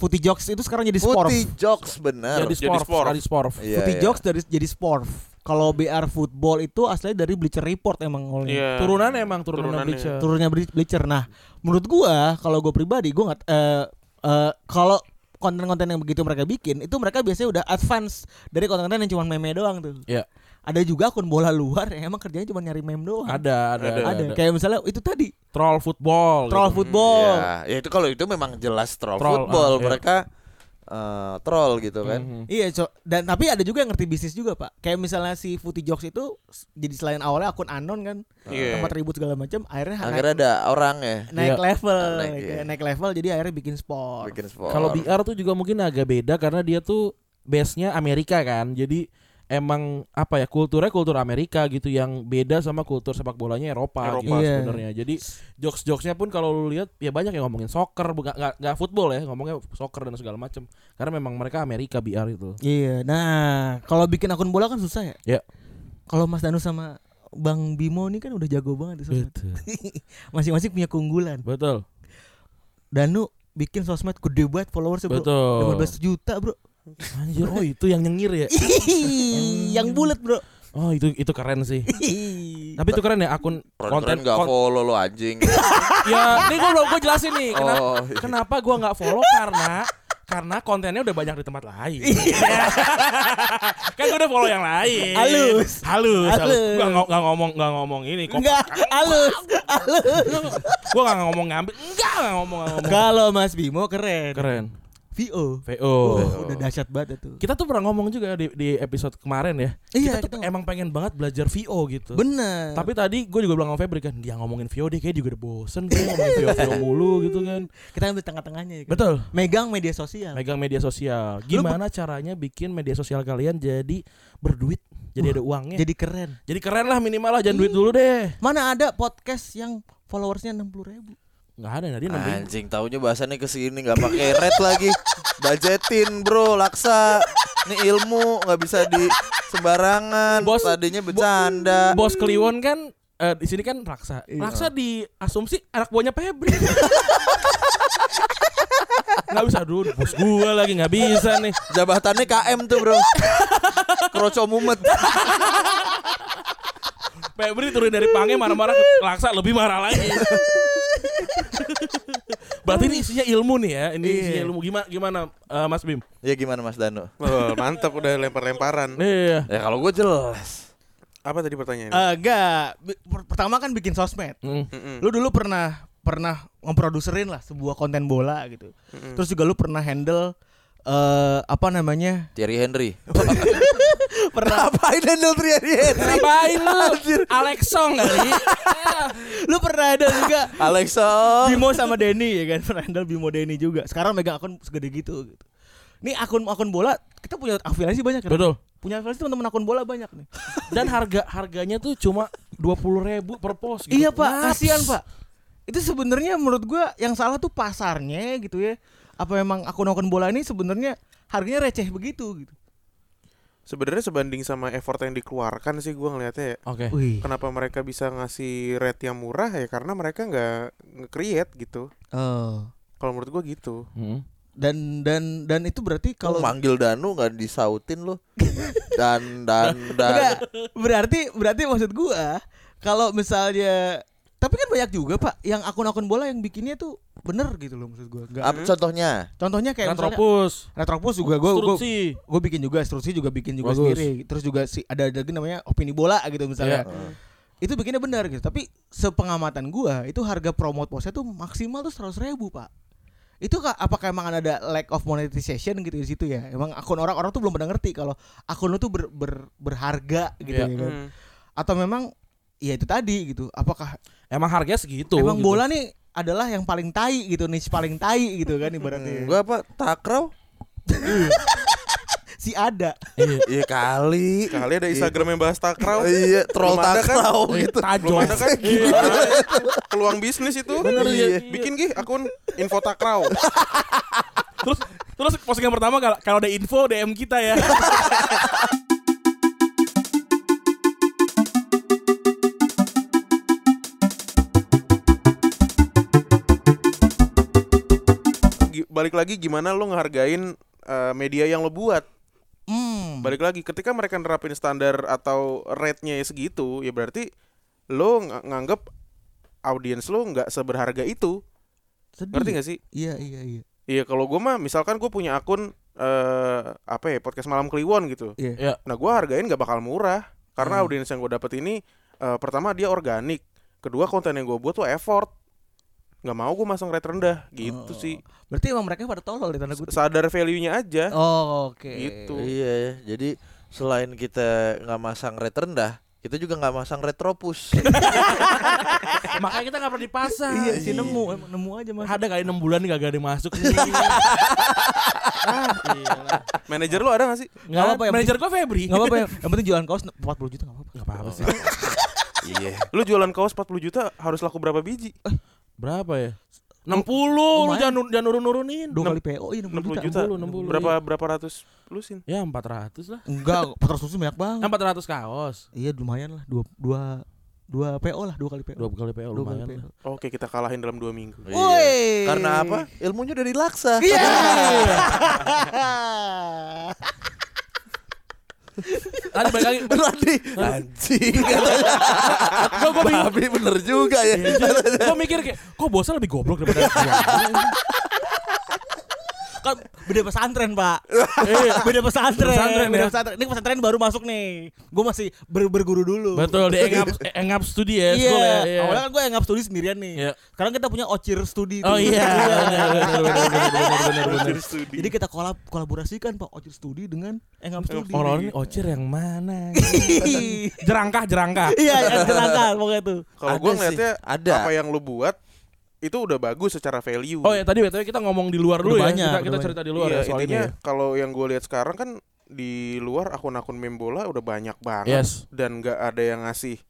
Speaker 3: footy jokes itu sekarang jadi sport
Speaker 4: Putih jokes bener.
Speaker 2: jadi
Speaker 5: Jadi
Speaker 2: Iya, sport,
Speaker 5: sporf.
Speaker 2: jadi sporf.
Speaker 4: Iya,
Speaker 3: footy
Speaker 4: iya.
Speaker 3: jokes dari jadi sport kalau BR football itu aslinya dari Bleacher Report emang awalnya
Speaker 5: Iya.
Speaker 2: Turunan emang turunan iya.
Speaker 5: Turunannya.
Speaker 2: Bleacher.
Speaker 3: turunnya Ble- Bleacher nah menurut gua kalau gua pribadi gua nggak eh, eh, kalau konten-konten yang begitu mereka bikin itu mereka biasanya udah advance dari konten-konten yang cuma meme doang tuh
Speaker 2: Iya.
Speaker 3: ada juga akun bola luar yang emang kerjanya cuma nyari meme doang.
Speaker 2: Ada, ada, ada. Iya.
Speaker 3: Ada. Kayak misalnya itu tadi
Speaker 2: Troll football. gitu.
Speaker 3: troll football.
Speaker 4: Ya, ya itu kalau itu memang jelas troll,
Speaker 2: Troll,
Speaker 4: football
Speaker 2: ah, iya.
Speaker 4: mereka eh, troll gitu kan.
Speaker 3: Iya, so- dan tapi ada juga yang ngerti bisnis juga, Pak. Kayak misalnya si Footy Jokes itu s- jadi selain awalnya akun anon kan,
Speaker 5: Iya.
Speaker 3: tempat ribut segala macam, akhirnya naik-
Speaker 4: Akhirnya ada orang ya
Speaker 2: Iya.
Speaker 3: naik, level,
Speaker 4: Naik,
Speaker 3: kayak
Speaker 4: iya.
Speaker 3: naik level jadi akhirnya bikin sport.
Speaker 4: bikin sport.
Speaker 2: Kalau BR tuh juga mungkin agak beda karena dia tuh base-nya Amerika kan. Jadi emang apa ya kulturnya kultur Amerika gitu yang beda sama kultur sepak bolanya Eropa,
Speaker 5: Eropa.
Speaker 2: gitu
Speaker 3: Iya.
Speaker 2: sebenarnya. Jadi jokes-jokesnya pun kalau lu lihat ya banyak yang ngomongin soccer, bukan nggak nggak football ya, ngomongnya soccer dan segala macem Karena memang mereka Amerika BR itu.
Speaker 3: Iya. Nah, kalau bikin akun bola kan susah ya.
Speaker 2: Ya.
Speaker 3: Kalau Mas Danu sama Bang Bimo ini kan udah jago banget di
Speaker 2: Iya.
Speaker 3: sosmed. Masing-masing punya keunggulan.
Speaker 2: Betul.
Speaker 3: Danu bikin sosmed gede banget followersnya, Bro.
Speaker 2: Betul.
Speaker 3: 15 juta, Bro.
Speaker 2: Anjir, oh itu yang nyengir ya.
Speaker 3: Ih, yang bulat, Bro.
Speaker 2: Oh, itu itu keren <laughs> sih.
Speaker 3: Ih.
Speaker 2: Tapi itu keren ya akun
Speaker 4: konten
Speaker 2: konten
Speaker 4: gak
Speaker 2: kon-
Speaker 4: follow lo anjing.
Speaker 2: ya ini gue belum gue jelasin nih kenapa
Speaker 4: Oh, iya.
Speaker 2: kenapa gue nggak follow karena karena kontennya udah banyak di tempat lain <laughs> kan gue udah follow yang lain
Speaker 3: Halus.
Speaker 2: halus, halus.
Speaker 3: Halus.
Speaker 2: gue nggak nggak ngomong nggak ngomong ini kok
Speaker 3: Enggak, halus, halus.
Speaker 2: gue nggak ngomong ngambil enggak nggak ngomong nggak ngomong
Speaker 3: Kalau Mas Bimo keren.
Speaker 2: keren
Speaker 3: VO.
Speaker 2: vo
Speaker 3: Oh, udah dahsyat banget itu.
Speaker 2: kita tuh pernah ngomong juga di, di episode kemarin ya
Speaker 3: Iya,
Speaker 2: kita tuh
Speaker 3: kita-
Speaker 2: emang pengen banget belajar vo gitu
Speaker 3: Bener.
Speaker 2: tapi tadi gue juga bilang sama Febri kan dia ngomongin VO dia kayak juga udah bosen dia ngomongin VO VO mulu gitu kan
Speaker 3: kita ambil tengah-tengahnya ya. kan?
Speaker 2: betul
Speaker 3: Megang media sosial.
Speaker 2: megang media sosial. Gimana caranya bikin media sosial kalian jadi berduit, jadi ada uangnya. Jadi,
Speaker 3: Jadi keren.
Speaker 2: keren lah minimal lah, jangan duit dulu deh.
Speaker 3: Mana ada podcast yang followersnya 60 ribu
Speaker 2: Nggak ada Nadine namanya.
Speaker 4: Anjing taunya bahasannya ke sini nggak pakai red lagi. Budgetin bro, laksa. Ini ilmu nggak bisa di sembarangan.
Speaker 2: Bos-
Speaker 4: Tadinya bercanda.
Speaker 2: Bos Kliwon kan eh, di sini kan Raksa. Raksa di asumsi anak buahnya <laughs> Febri. Nggak bisa dulu, bos gua lagi nggak bisa nih.
Speaker 4: Jabatannya KM tuh bro. <laughs> Kroco mumet.
Speaker 2: Febri turun dari pange marah-marah ke Raksa lebih marah <laughs> lagi. Berarti ini isinya ilmu nih ya, ini isinya ilmu gimana gimana eh, Mas Bim?
Speaker 4: Ya gimana Mas Danu?
Speaker 5: Oh, mantap udah lempar-lemparan.
Speaker 2: Iya.
Speaker 4: Ya kalau gue jelas.
Speaker 5: Apa tadi
Speaker 4: Ah.
Speaker 5: pertanyaannya?
Speaker 3: Eh, Enggak. Bi- per- Pertama kan bikin sosmed.
Speaker 2: Mm.
Speaker 5: Mm-mm.
Speaker 3: Lu dulu pernah pernah ngeproduserin lah sebuah konten bola gitu. Terus juga lu pernah handle eh apa namanya?
Speaker 4: Thierry Henry.
Speaker 3: Pernah
Speaker 4: <laughs> Ngapain handle Thierry Henry?
Speaker 2: Ngapain lu? Alexong kali.
Speaker 3: <laughs> lu pernah handle juga
Speaker 4: Alexa.
Speaker 3: Bimo sama Denny ya kan <laughs> pernah handle Bimo Denny juga. Sekarang megang akun segede gitu gitu. Nih akun akun bola kita punya afiliasi banyak kan?
Speaker 2: Betul.
Speaker 3: Punya afiliasi teman-teman akun bola banyak nih.
Speaker 2: Dan harga harganya tuh cuma dua puluh ribu per post. Gitu.
Speaker 3: <laughs> Iya pak,
Speaker 2: Naps.
Speaker 3: kasihan pak. Itu sebenarnya menurut gua yang salah tuh pasarnya gitu ya. Apa memang akun-akun bola ini sebenarnya harganya receh begitu gitu.
Speaker 5: Sebenarnya sebanding sama effort yang dikeluarkan sih gua ngelihatnya ya.
Speaker 2: Oke.
Speaker 3: Eh, Wih.
Speaker 5: Kenapa mereka bisa ngasih rate yang murah ya karena mereka nggak nge-create gitu. Kalau menurut gua gitu.
Speaker 2: Hmm.
Speaker 3: Eh, Dan dan dan itu berarti
Speaker 4: Kalau
Speaker 3: kalau
Speaker 4: manggil Danu nggak disautin lo. Dan dan dan.
Speaker 3: Enggak, berarti berarti maksud gua kalau misalnya tapi kan banyak juga pak yang akun-akun bola yang bikinnya tuh bener gitu loh maksud gua. Enggak.
Speaker 4: Apa contohnya?
Speaker 3: Contohnya
Speaker 2: Kan
Speaker 3: kayak misalnya
Speaker 2: Retropus.
Speaker 3: Retropus juga gua gua
Speaker 2: Strutsi.
Speaker 3: gue bikin juga instruksi juga bikin juga
Speaker 2: Bagus.
Speaker 3: sendiri terus juga si ada ada lagi namanya opini bola gitu misalnya
Speaker 2: Iya.
Speaker 3: itu bikinnya benar gitu tapi sepengamatan gua itu harga promote postnya tuh maksimal tuh seratus ribu pak itu ka- apakah emang ada lack of monetization gitu di situ ya emang akun orang-orang tuh belum pernah ngerti kalau akun lu tuh ber- ber- berharga gitu
Speaker 2: Iya.
Speaker 3: ya kan?
Speaker 5: Hmm.
Speaker 3: atau memang ya itu tadi gitu apakah
Speaker 2: Emang harganya segitu.
Speaker 3: emang
Speaker 2: gitu.
Speaker 3: bola nih adalah yang paling tai gitu niche paling tai gitu kan ibaratnya
Speaker 2: Hmm.
Speaker 4: Gue apa? Takraw?
Speaker 3: si ada
Speaker 4: Iya kali.
Speaker 5: Kali ada Instagram yang bahas takraw.
Speaker 4: Iya, troll
Speaker 5: Belum ada kan?
Speaker 4: takraw gitu.
Speaker 5: Belum ada kan? Peluang bisnis itu. Bener
Speaker 4: Iya.
Speaker 5: Bikin gih akun info takraw.
Speaker 2: Terus terus postingan pertama kalau kalau ada info DM kita ya.
Speaker 5: Gi- Balik lagi gimana lo ngehargain eh, media yang lo buat.
Speaker 3: hmm
Speaker 5: Balik lagi ketika mereka nerapin standar atau rate-nya ya segitu, ya berarti lo ng- nganggep audiens lo nggak seberharga itu.
Speaker 3: sedih.
Speaker 4: Hmm.
Speaker 5: Ngerti gak sih?
Speaker 3: iya iya iya
Speaker 5: Iya kalau gue mah misalkan gue punya akun eh apa ya podcast malam Kliwon gitu.
Speaker 3: iya Hmm.
Speaker 2: ya.
Speaker 5: Nah gue hargain gak bakal murah. Karena audiens yang gue dapet ini eh, pertama dia organik, kedua konten yang gue buat tuh effort. Nggak mau gue masang rate rendah gitu
Speaker 3: Oh.
Speaker 5: sih.
Speaker 3: Berarti emang mereka pada tolol di tanda kutip.
Speaker 5: Sadar value-nya aja.
Speaker 3: Oh, oke.
Speaker 5: Gitu.
Speaker 4: Iya ya. Jadi selain kita nggak masang red rendah, kita juga nggak masang <laughs>
Speaker 2: <laughs>
Speaker 4: retropus. Iya.
Speaker 2: Makanya kita nggak pernah dipasang.
Speaker 3: Iya, sih nemu, emang nemu aja mas.
Speaker 2: Ada kali 6 bulan nggak ada yang masuk
Speaker 3: Iya.
Speaker 2: nih.
Speaker 5: Manajer lu ada gak sih?
Speaker 2: Nggak
Speaker 3: Nggak
Speaker 2: apa
Speaker 3: apa-apa, yang
Speaker 2: ya, Manajer gue Febri.
Speaker 3: Gak apa-apa, ya. yang- yang penting jualan kaos 40 juta gak apa-apa.
Speaker 2: Nggak apa-apa sih.
Speaker 4: Iya.
Speaker 5: Lu jualan kaos 40 juta harus laku berapa biji?
Speaker 2: Berapa ya? 60 lu
Speaker 3: Lumayan.
Speaker 2: jangan nu- jangan nurun-nurunin.
Speaker 3: Dua
Speaker 5: Enam-
Speaker 3: kali PO ini
Speaker 5: 60 juta.
Speaker 2: 60,
Speaker 5: Berapa berapa ratus lu sin?
Speaker 2: Ya 400 lah.
Speaker 3: Enggak, Petrus susu banyak banget.
Speaker 2: 400 Kan kaos.
Speaker 3: Iya lumayan lah, dua dua dua PO lah, dua kali PO.
Speaker 2: Dua kali PO
Speaker 3: Dua
Speaker 2: lumayan.
Speaker 3: kali
Speaker 2: lah.
Speaker 3: PO.
Speaker 5: Oke, kita kalahin dalam dua minggu.
Speaker 4: Iya.
Speaker 3: Woi.
Speaker 4: Karena apa? Ilmunya dari
Speaker 2: <laughs>
Speaker 4: laksa.
Speaker 3: Iya.
Speaker 4: <laughs>
Speaker 2: Tadi balik lagi.
Speaker 4: Berarti <laughs> anjing. Kok gue Tapi bener juga ya.
Speaker 2: Gue mikir kayak kok bosan lebih goblok daripada gua.
Speaker 3: kan beda pesantren pak
Speaker 2: Iya.
Speaker 3: beda pesantren
Speaker 2: Pesantren,
Speaker 3: beda
Speaker 2: ya.
Speaker 3: pesantren ini pesantren baru masuk nih gue masih ber- berguru dulu
Speaker 2: Betul di engap engap studi ya
Speaker 3: Iya,
Speaker 2: sekolah ya. Iya.
Speaker 3: awalnya kan gue ngap studi sendirian nih.
Speaker 2: Iya.
Speaker 3: Sekarang kita punya Ocir Studi.
Speaker 2: Oh
Speaker 3: tuh.
Speaker 2: iya. Bener, bener, bener, bener, bener, bener,
Speaker 3: Iya.
Speaker 2: bener.
Speaker 3: Jadi kita kolab kolaborasikan Pak Ocir Studi dengan Engap Studi.
Speaker 2: Orang ini ocir yang
Speaker 3: <laughs>
Speaker 2: mana? jerangkah, jerangkah.
Speaker 3: Iya, <laughs> yang terangkat pokoknya tuh.
Speaker 5: Kalau
Speaker 4: Ada
Speaker 5: gua
Speaker 4: sih,
Speaker 5: ngeliatnya
Speaker 4: ada.
Speaker 5: apa yang lu buat itu udah bagus secara value.
Speaker 2: Oh ya tadi btw kita ngomong di luar dulu ya.
Speaker 3: Udah banyak,
Speaker 2: Kita,
Speaker 3: udah
Speaker 2: kita
Speaker 3: banyak.
Speaker 2: cerita di luar
Speaker 5: Iya,
Speaker 2: ya soal ini.
Speaker 5: intinya
Speaker 2: ya.
Speaker 5: kalau yang gue lihat sekarang kan di luar akun-akun meme bola udah banyak banget
Speaker 2: Yes.
Speaker 5: dan nggak ada yang ngasih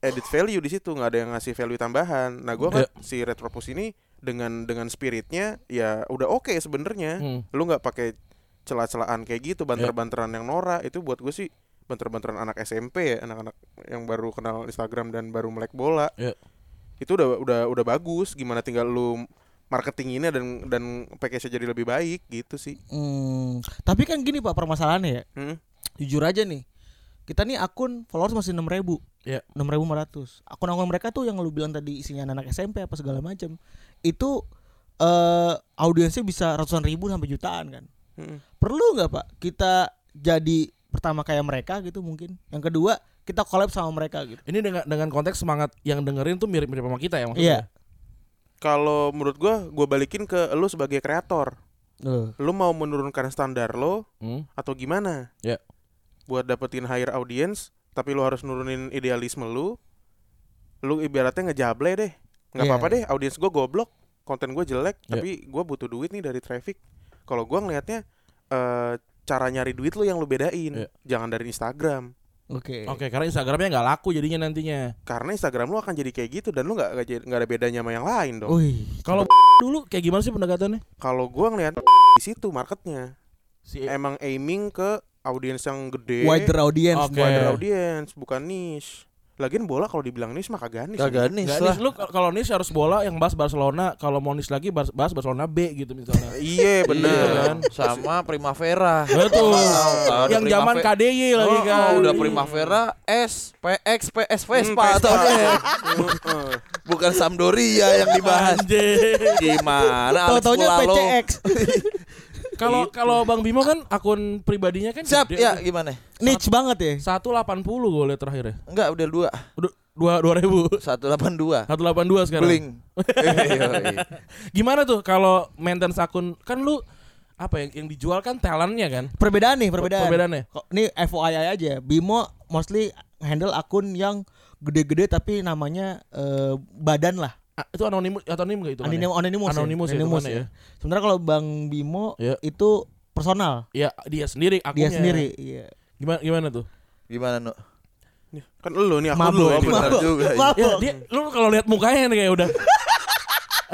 Speaker 5: edit value di situ, nggak ada yang ngasih value tambahan. Nah, gua kan
Speaker 2: Iya.
Speaker 5: si Retropus ini dengan dengan spiritnya ya udah oke sebenarnya.
Speaker 2: Hmm. Iya.
Speaker 5: Lu nggak pakai celah-celahan kayak gitu, banter-banteran yang norak itu buat gue sih banter-banteran anak SMP ya, anak-anak yang baru kenal Instagram dan baru melek bola.
Speaker 2: Iya.
Speaker 5: Itu udah udah udah bagus gimana tinggal lu marketinginnya dan dan package jadi lebih baik gitu sih.
Speaker 3: Hmm, tapi kan gini Pak permasalahannya ya.
Speaker 5: Hmm.
Speaker 3: Jujur aja nih. Kita nih akun followers masih 6000 ribu
Speaker 2: Iya.
Speaker 3: 6.500. Akun-akun mereka tuh yang lu bilang tadi isinya anak SMP apa segala macam. Itu eh audiensnya bisa ratusan ribu sampai jutaan kan.
Speaker 5: Hmm.
Speaker 3: Perlu nggak Pak kita jadi pertama kayak mereka gitu mungkin. Yang kedua kita collab sama mereka gitu.
Speaker 2: Ini dengan dengan konteks semangat yang dengerin tuh mirip-mirip sama kita ya maksudnya.
Speaker 3: Iya.
Speaker 5: Kalau menurut gua, gua balikin ke lu sebagai kreator.
Speaker 3: Iya. Loh.
Speaker 5: Lu mau menurunkan standar lo
Speaker 2: Hmm.
Speaker 5: atau gimana?
Speaker 2: Ya.
Speaker 5: Buat dapetin higher audience, tapi lu harus nurunin idealisme lu. Lu ibaratnya ngejable deh. nggak
Speaker 3: Iya.
Speaker 5: apa-apa deh, audiens gua goblok, konten gua jelek,
Speaker 2: Ya.
Speaker 5: tapi gua butuh duit nih dari traffic. Kalau gua ngelihatnya eh cara nyari duit lu yang lu bedain,
Speaker 2: Ya.
Speaker 5: jangan dari Instagram.
Speaker 3: Oke.
Speaker 2: Oke, karena Instagramnya nggak laku jadinya nantinya.
Speaker 5: Karena Instagram lu akan jadi kayak gitu dan lu nggak nggak jadi- nggak ada bedanya sama yang lain dong.
Speaker 3: Wih.
Speaker 2: Kalau <laughs> dulu kayak gimana sih pendekatannya?
Speaker 5: Kalau gua ngelihat di situ marketnya.
Speaker 2: Si
Speaker 5: emang aiming ke audiens yang gede,
Speaker 3: Wider audience.
Speaker 2: Oke.
Speaker 5: wider audience, bukan niche. Lagian bola kalau dibilang niche mah kagak niche.
Speaker 4: Kagak nih
Speaker 2: Nggak, Nis,
Speaker 4: lah.
Speaker 2: lu k- kalau Nis harus bola yang bahas Barcelona, kalau mau Nis lagi bahas, bahas Barcelona B gitu misalnya.
Speaker 5: Iya bener.
Speaker 4: Iya, kan? Sama Primavera.
Speaker 2: Betul.
Speaker 4: Tahu, tahu, ada
Speaker 2: yang zaman
Speaker 4: Primave-
Speaker 2: KDY <laughs> lagi
Speaker 4: Oh,
Speaker 2: kan.
Speaker 4: oh, udah Primavera S, PX, PS, Vespa
Speaker 5: Hmm, Vespa.
Speaker 4: atau
Speaker 5: <laughs>
Speaker 4: Bukan Sampdoria yang
Speaker 2: <laughs>
Speaker 4: dibahas.
Speaker 2: Anjir.
Speaker 4: Gimana Alex
Speaker 3: Tau-taunya
Speaker 4: Pulalo?
Speaker 3: PCX.
Speaker 2: Kalau kalau Bang Bimo kan akun pribadinya kan
Speaker 4: Gitu. Siap
Speaker 2: gede.
Speaker 4: ya gimana?
Speaker 3: <laughs> Niche banget ya.
Speaker 2: 180 gue lihat terakhir ya.
Speaker 4: Enggak udah dua
Speaker 2: Udah dua dua ribu <laughs>
Speaker 4: 182
Speaker 2: 182 sekarang.
Speaker 4: Bling <laughs> Yoi.
Speaker 2: Gimana tuh kalau maintenance akun kan lu apa yang yang dijual kan talentnya kan?
Speaker 3: Perbedaan nih, perbedaan.
Speaker 2: Perbedaannya.
Speaker 3: Kok- Ini FYI aja. Bimo mostly handle akun yang gede-gede tapi namanya eh, badan lah.
Speaker 2: Ah, itu anonimus anonim gak itu? kan ya?
Speaker 3: Anonim, anonimus,
Speaker 2: Anonymous ya,
Speaker 3: ya. Anonymous
Speaker 2: temannya
Speaker 3: ya. Sebenarnya kalau Bang Bimo
Speaker 2: Iya.
Speaker 3: itu personal,
Speaker 2: Ya dia sendiri akunnya.
Speaker 3: dia sendiri. Iya.
Speaker 2: Gimana gimana tuh?
Speaker 4: Gimana Nuk?
Speaker 5: Kan lu nih aku lu
Speaker 3: Mabuk,
Speaker 5: ini.
Speaker 4: benar
Speaker 3: mabuk,
Speaker 4: juga, iya.
Speaker 2: Ya,
Speaker 3: mabuk.
Speaker 2: dia lu kalau lihat mukanya nih kayak
Speaker 3: <laughs>
Speaker 2: udah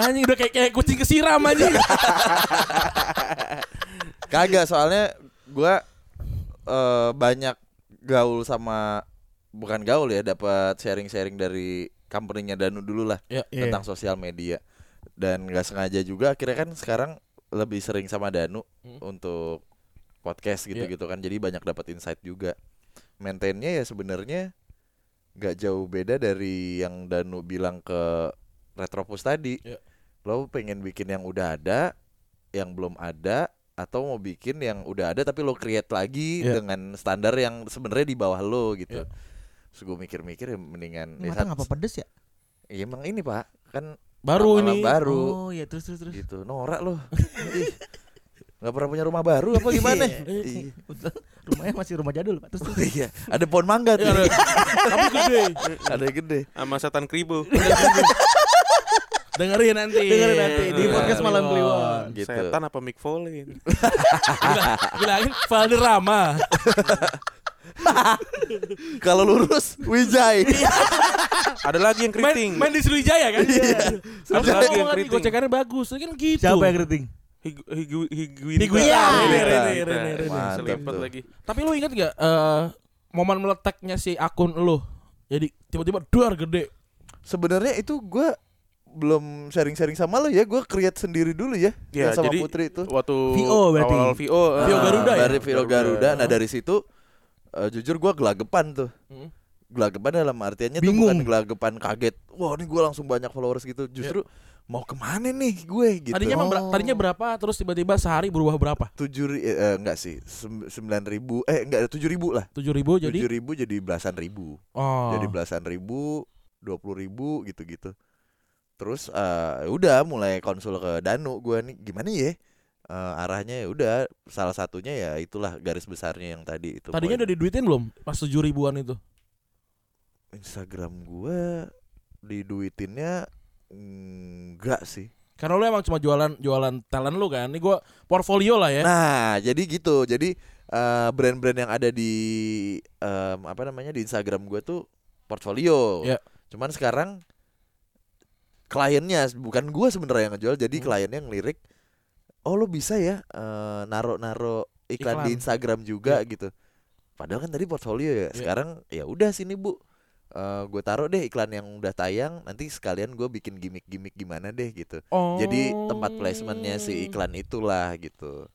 Speaker 2: anjing udah kayak kayak kucing kesiram anjing.
Speaker 4: Kagak soalnya gua eh, banyak gaul sama bukan gaul ya dapat sharing-sharing dari company-nya Danu dulu lah
Speaker 2: Ya,
Speaker 3: Iya.
Speaker 4: tentang sosial media dan nggak sengaja juga akhirnya kan sekarang lebih sering sama Danu
Speaker 2: Hmm.
Speaker 4: untuk podcast gitu-gitu kan jadi banyak dapat insight juga maintainnya ya sebenarnya nggak jauh beda dari yang Danu bilang ke Retropus tadi
Speaker 2: Iya.
Speaker 4: lo pengen bikin yang udah ada yang belum ada atau mau bikin yang udah ada tapi lo create lagi
Speaker 5: Iya.
Speaker 4: dengan standar yang sebenarnya di bawah lo gitu. Terus gue mikir-mikir ya mendingan
Speaker 3: Ini
Speaker 4: ya
Speaker 3: matang
Speaker 4: sat-
Speaker 3: apa pedes ya?
Speaker 4: Iya emang ini pak kan
Speaker 2: Baru
Speaker 4: malam
Speaker 2: ini.
Speaker 3: Oh
Speaker 4: baru
Speaker 3: iya terus terus terus.
Speaker 4: gitu norak lo. Ih, Nggak pernah punya rumah baru apa gimana? Iya.
Speaker 3: Rumahnya masih rumah jadul pak. Terus terus.
Speaker 4: Iya, ada pohon mangga tuh.
Speaker 2: Iya, ada. Tapi gede.
Speaker 4: ada yang gede.
Speaker 5: Sama setan kribo.
Speaker 2: Dengerin nanti. Iya.
Speaker 3: Dengerin nanti di
Speaker 2: Dengerin
Speaker 3: podcast malam
Speaker 2: nanti.
Speaker 3: Kliwon.
Speaker 4: Gitu.
Speaker 5: Setan apa Mick Foley?
Speaker 2: Bila- Bilangin Valderrama.
Speaker 4: Kalau lurus Wijay.
Speaker 5: Ada lagi yang
Speaker 2: Main,
Speaker 5: keriting.
Speaker 2: main di Sriwijaya kan? Iya. Harus
Speaker 5: Sriwijaya
Speaker 2: ngomong kan
Speaker 5: keriting.
Speaker 2: gocekannya bagus. Kan gitu.
Speaker 3: Siapa yang keriting?
Speaker 5: Higu- higu- higuita.
Speaker 2: Higuita.
Speaker 5: Iya,
Speaker 2: Rene,
Speaker 5: higuita.
Speaker 2: Rene, Rene, Rene.
Speaker 5: Mantap Selipet
Speaker 4: tuh.
Speaker 5: lagi.
Speaker 2: Tapi lu ingat gak eh, momen meletaknya si akun lu? Jadi tiba-tiba duar gede.
Speaker 4: Sebenarnya itu gua belum sharing-sharing sama lo ya, gua create sendiri dulu ya, yang
Speaker 5: Ya,
Speaker 4: sama
Speaker 5: jadi
Speaker 4: Putri itu.
Speaker 5: Waktu
Speaker 3: VO berarti.
Speaker 5: awal VO. eh,
Speaker 2: VO Garuda ya?
Speaker 4: Ah, Dari Vio Garuda. Nah, dari situ eh, jujur gua gelagapan tuh.
Speaker 2: Hmm.
Speaker 4: Gelagapan dalam artiannya
Speaker 3: Bingung.
Speaker 4: tuh bukan gelagapan kaget. Wah, ini gua langsung banyak followers gitu. Justru mau kemana nih gue gitu.
Speaker 2: Iya. Tadinya emang ber- tadinya berapa terus tiba-tiba sehari berubah berapa?
Speaker 4: tujuh ri- eh, eh, enggak sih sem- sembilan ribu eh enggak tujuh ribu lah
Speaker 2: 7.000 jadi
Speaker 4: tujuh ribu jadi belasan ribu
Speaker 2: oh.
Speaker 4: jadi belasan ribu dua puluh ribu gitu gitu terus eh, udah mulai konsul ke Danu gua nih gimana ya Eh, arahnya ya udah salah satunya ya itulah garis besarnya yang tadi itu
Speaker 2: Tadinya
Speaker 4: poin.
Speaker 2: udah diduitin belum pas 7 ribuan itu?
Speaker 4: Instagram gua diduitinnya enggak sih
Speaker 2: Karena lu emang cuma jualan jualan talent lu kan. Ini gua portfolio lah ya.
Speaker 4: Nah, jadi gitu. Jadi eh, brand-brand yang ada di em, apa namanya di Instagram gue tuh portfolio.
Speaker 2: Ya.
Speaker 4: Cuman sekarang kliennya bukan gue sebenarnya yang ngejual,
Speaker 2: Hmm.
Speaker 4: jadi kliennya ngelirik, "Oh, lo bisa ya eh, naro-naro iklan, di
Speaker 2: Iklan. Ya.
Speaker 4: Instagram juga gitu." Padahal kan tadi portfolio ya. Sekarang ya udah sini, Bu. gue taruh deh iklan yang udah tayang nanti sekalian gue bikin gimmick-gimmick gimana deh gitu
Speaker 2: Oh.
Speaker 4: jadi tempat placementnya si iklan itulah gitu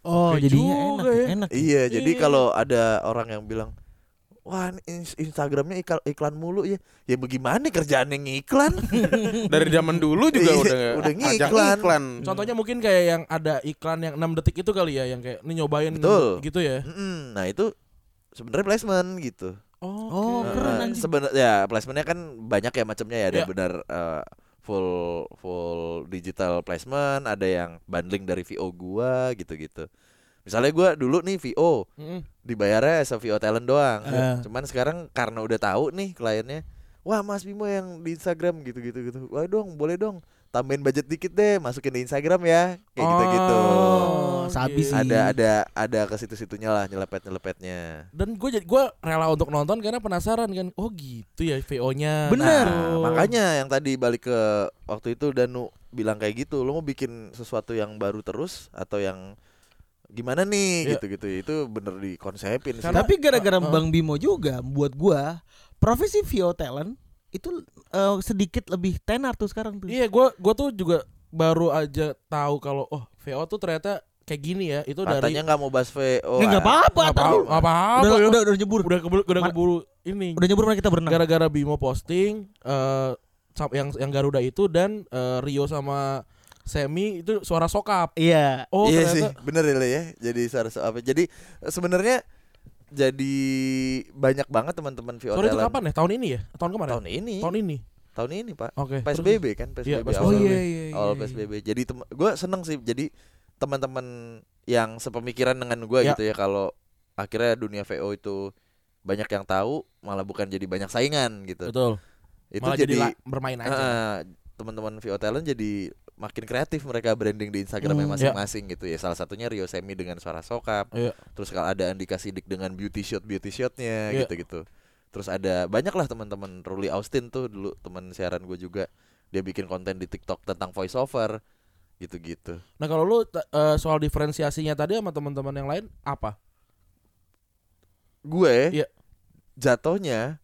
Speaker 3: Oh
Speaker 2: Oke
Speaker 3: jadinya
Speaker 2: juga
Speaker 3: enak
Speaker 2: ya.
Speaker 3: ya, enak. ya.
Speaker 2: <laughs>
Speaker 4: Iya, jadi
Speaker 2: Iya.
Speaker 4: kalau ada orang yang bilang, wah ini ins- Instagramnya iklan, iklan mulu ya, ya bagaimana kerjaan yang
Speaker 2: <laughs>
Speaker 4: iklan?
Speaker 2: Iya.
Speaker 5: Dari zaman dulu juga
Speaker 4: Iya,
Speaker 5: udah
Speaker 4: udah
Speaker 5: ajang
Speaker 4: ngiklan.
Speaker 5: iklan.
Speaker 2: Contohnya mungkin kayak yang ada iklan yang 6 detik itu kali ya yang kayak ini nyobain
Speaker 4: Betul.
Speaker 2: gitu ya.
Speaker 4: nah itu sebenarnya placement gitu.
Speaker 3: Oh,
Speaker 2: oke.
Speaker 3: keren,
Speaker 4: Nah,
Speaker 3: anjing.
Speaker 4: Sebenar ya placementnya kan banyak ya macamnya ya ada
Speaker 2: Iya.
Speaker 4: benar eh, full full digital placement, ada yang bundling dari VO gua gitu-gitu. Misalnya gua dulu nih VO,
Speaker 2: Mm-mm.
Speaker 4: dibayarnya as a VO talent doang.
Speaker 3: Eh.
Speaker 4: Cuman sekarang karena udah tahu nih kliennya, wah Mas Bimo yang di Instagram gitu-gitu gitu. Wah dong, boleh dong. Tambahin budget dikit deh, masukin di Instagram ya. Kayak gitu-gitu.
Speaker 2: Oh,
Speaker 3: Sabi
Speaker 2: gitu.
Speaker 3: sih.
Speaker 4: Ada ada ada ke situ-situnya lah nyelepet-nyelepetnya.
Speaker 2: Dan gue jadi gue rela untuk nonton karena penasaran kan. Oh gitu ya VO-nya.
Speaker 3: Bener.
Speaker 4: Nah,
Speaker 2: Oh.
Speaker 4: makanya yang tadi balik ke waktu itu Danu bilang kayak gitu, lo mau bikin sesuatu yang baru terus atau yang gimana nih
Speaker 2: Iya.
Speaker 4: gitu-gitu. Itu bener dikonsepin sih.
Speaker 2: Karena-
Speaker 3: Tapi gara-gara
Speaker 2: Uh, uh.
Speaker 3: Bang Bimo juga buat gua profesi VO talent itu eh, sedikit lebih tenar tuh sekarang tuh.
Speaker 2: Iya, gue gua tuh juga baru aja tahu kalau oh VO tuh ternyata kayak gini ya. Itu
Speaker 4: Katanya nggak mau bahas VO.
Speaker 3: Ya, Nggak
Speaker 4: ah.
Speaker 3: apa-apa
Speaker 2: dari
Speaker 3: tahu.
Speaker 2: apa apa
Speaker 3: Udah, udah udah nyebur.
Speaker 2: ya. udah keburu, udah
Speaker 3: Ma-
Speaker 2: keburu ini.
Speaker 3: Udah nyebur mana kita berenang.
Speaker 2: Gara-gara Bimo posting eh sam- yang yang Garuda itu dan eh, Rio sama Semi itu suara sokap.
Speaker 3: Iya.
Speaker 2: Oh,
Speaker 4: iya sih,
Speaker 2: ternyata
Speaker 4: bener ya Le, ya. Jadi suara suara apa? Jadi eh, sebenarnya jadi banyak banget teman-teman VO
Speaker 2: Sorry itu
Speaker 4: talent.
Speaker 2: kapan ya? Tahun ini ya? Tahun kemarin?
Speaker 4: Tahun ini. Tahun,
Speaker 2: Tahun ini.
Speaker 4: ini, Pak.
Speaker 2: Oke. terus-
Speaker 4: PSBB kan,
Speaker 2: Iya,
Speaker 4: PSBB.
Speaker 2: pas-
Speaker 4: awal,
Speaker 2: oh iya,
Speaker 3: iya,
Speaker 4: awal PSBB. Jadi gue seneng sih jadi teman-teman yang sepemikiran dengan gue
Speaker 2: Ya.
Speaker 4: gitu ya kalau akhirnya dunia VO itu banyak yang tahu malah bukan jadi banyak saingan gitu.
Speaker 2: Betul.
Speaker 4: Itu
Speaker 2: Malah jadi,
Speaker 4: jadi,
Speaker 2: la- bermain aja.
Speaker 4: Heeh, teman-teman VO talent jadi makin kreatif mereka branding di
Speaker 3: Hmm,
Speaker 4: Instagramnya
Speaker 2: iya.
Speaker 4: masing-masing gitu ya. Salah satunya Rio Semi dengan suara sokap.
Speaker 2: Iya.
Speaker 4: Terus kalau ada Andika Sidik dengan beauty shot beauty shotnya
Speaker 2: Iya.
Speaker 4: gitu-gitu. Terus ada banyak lah teman-teman Ruli Austin tuh dulu teman siaran gue juga. Dia bikin konten di TikTok tentang voice over gitu-gitu.
Speaker 2: Nah kalau lu t- eh, soal diferensiasinya tadi sama teman-teman yang lain apa?
Speaker 4: Gue
Speaker 2: Iya.
Speaker 4: jatuhnya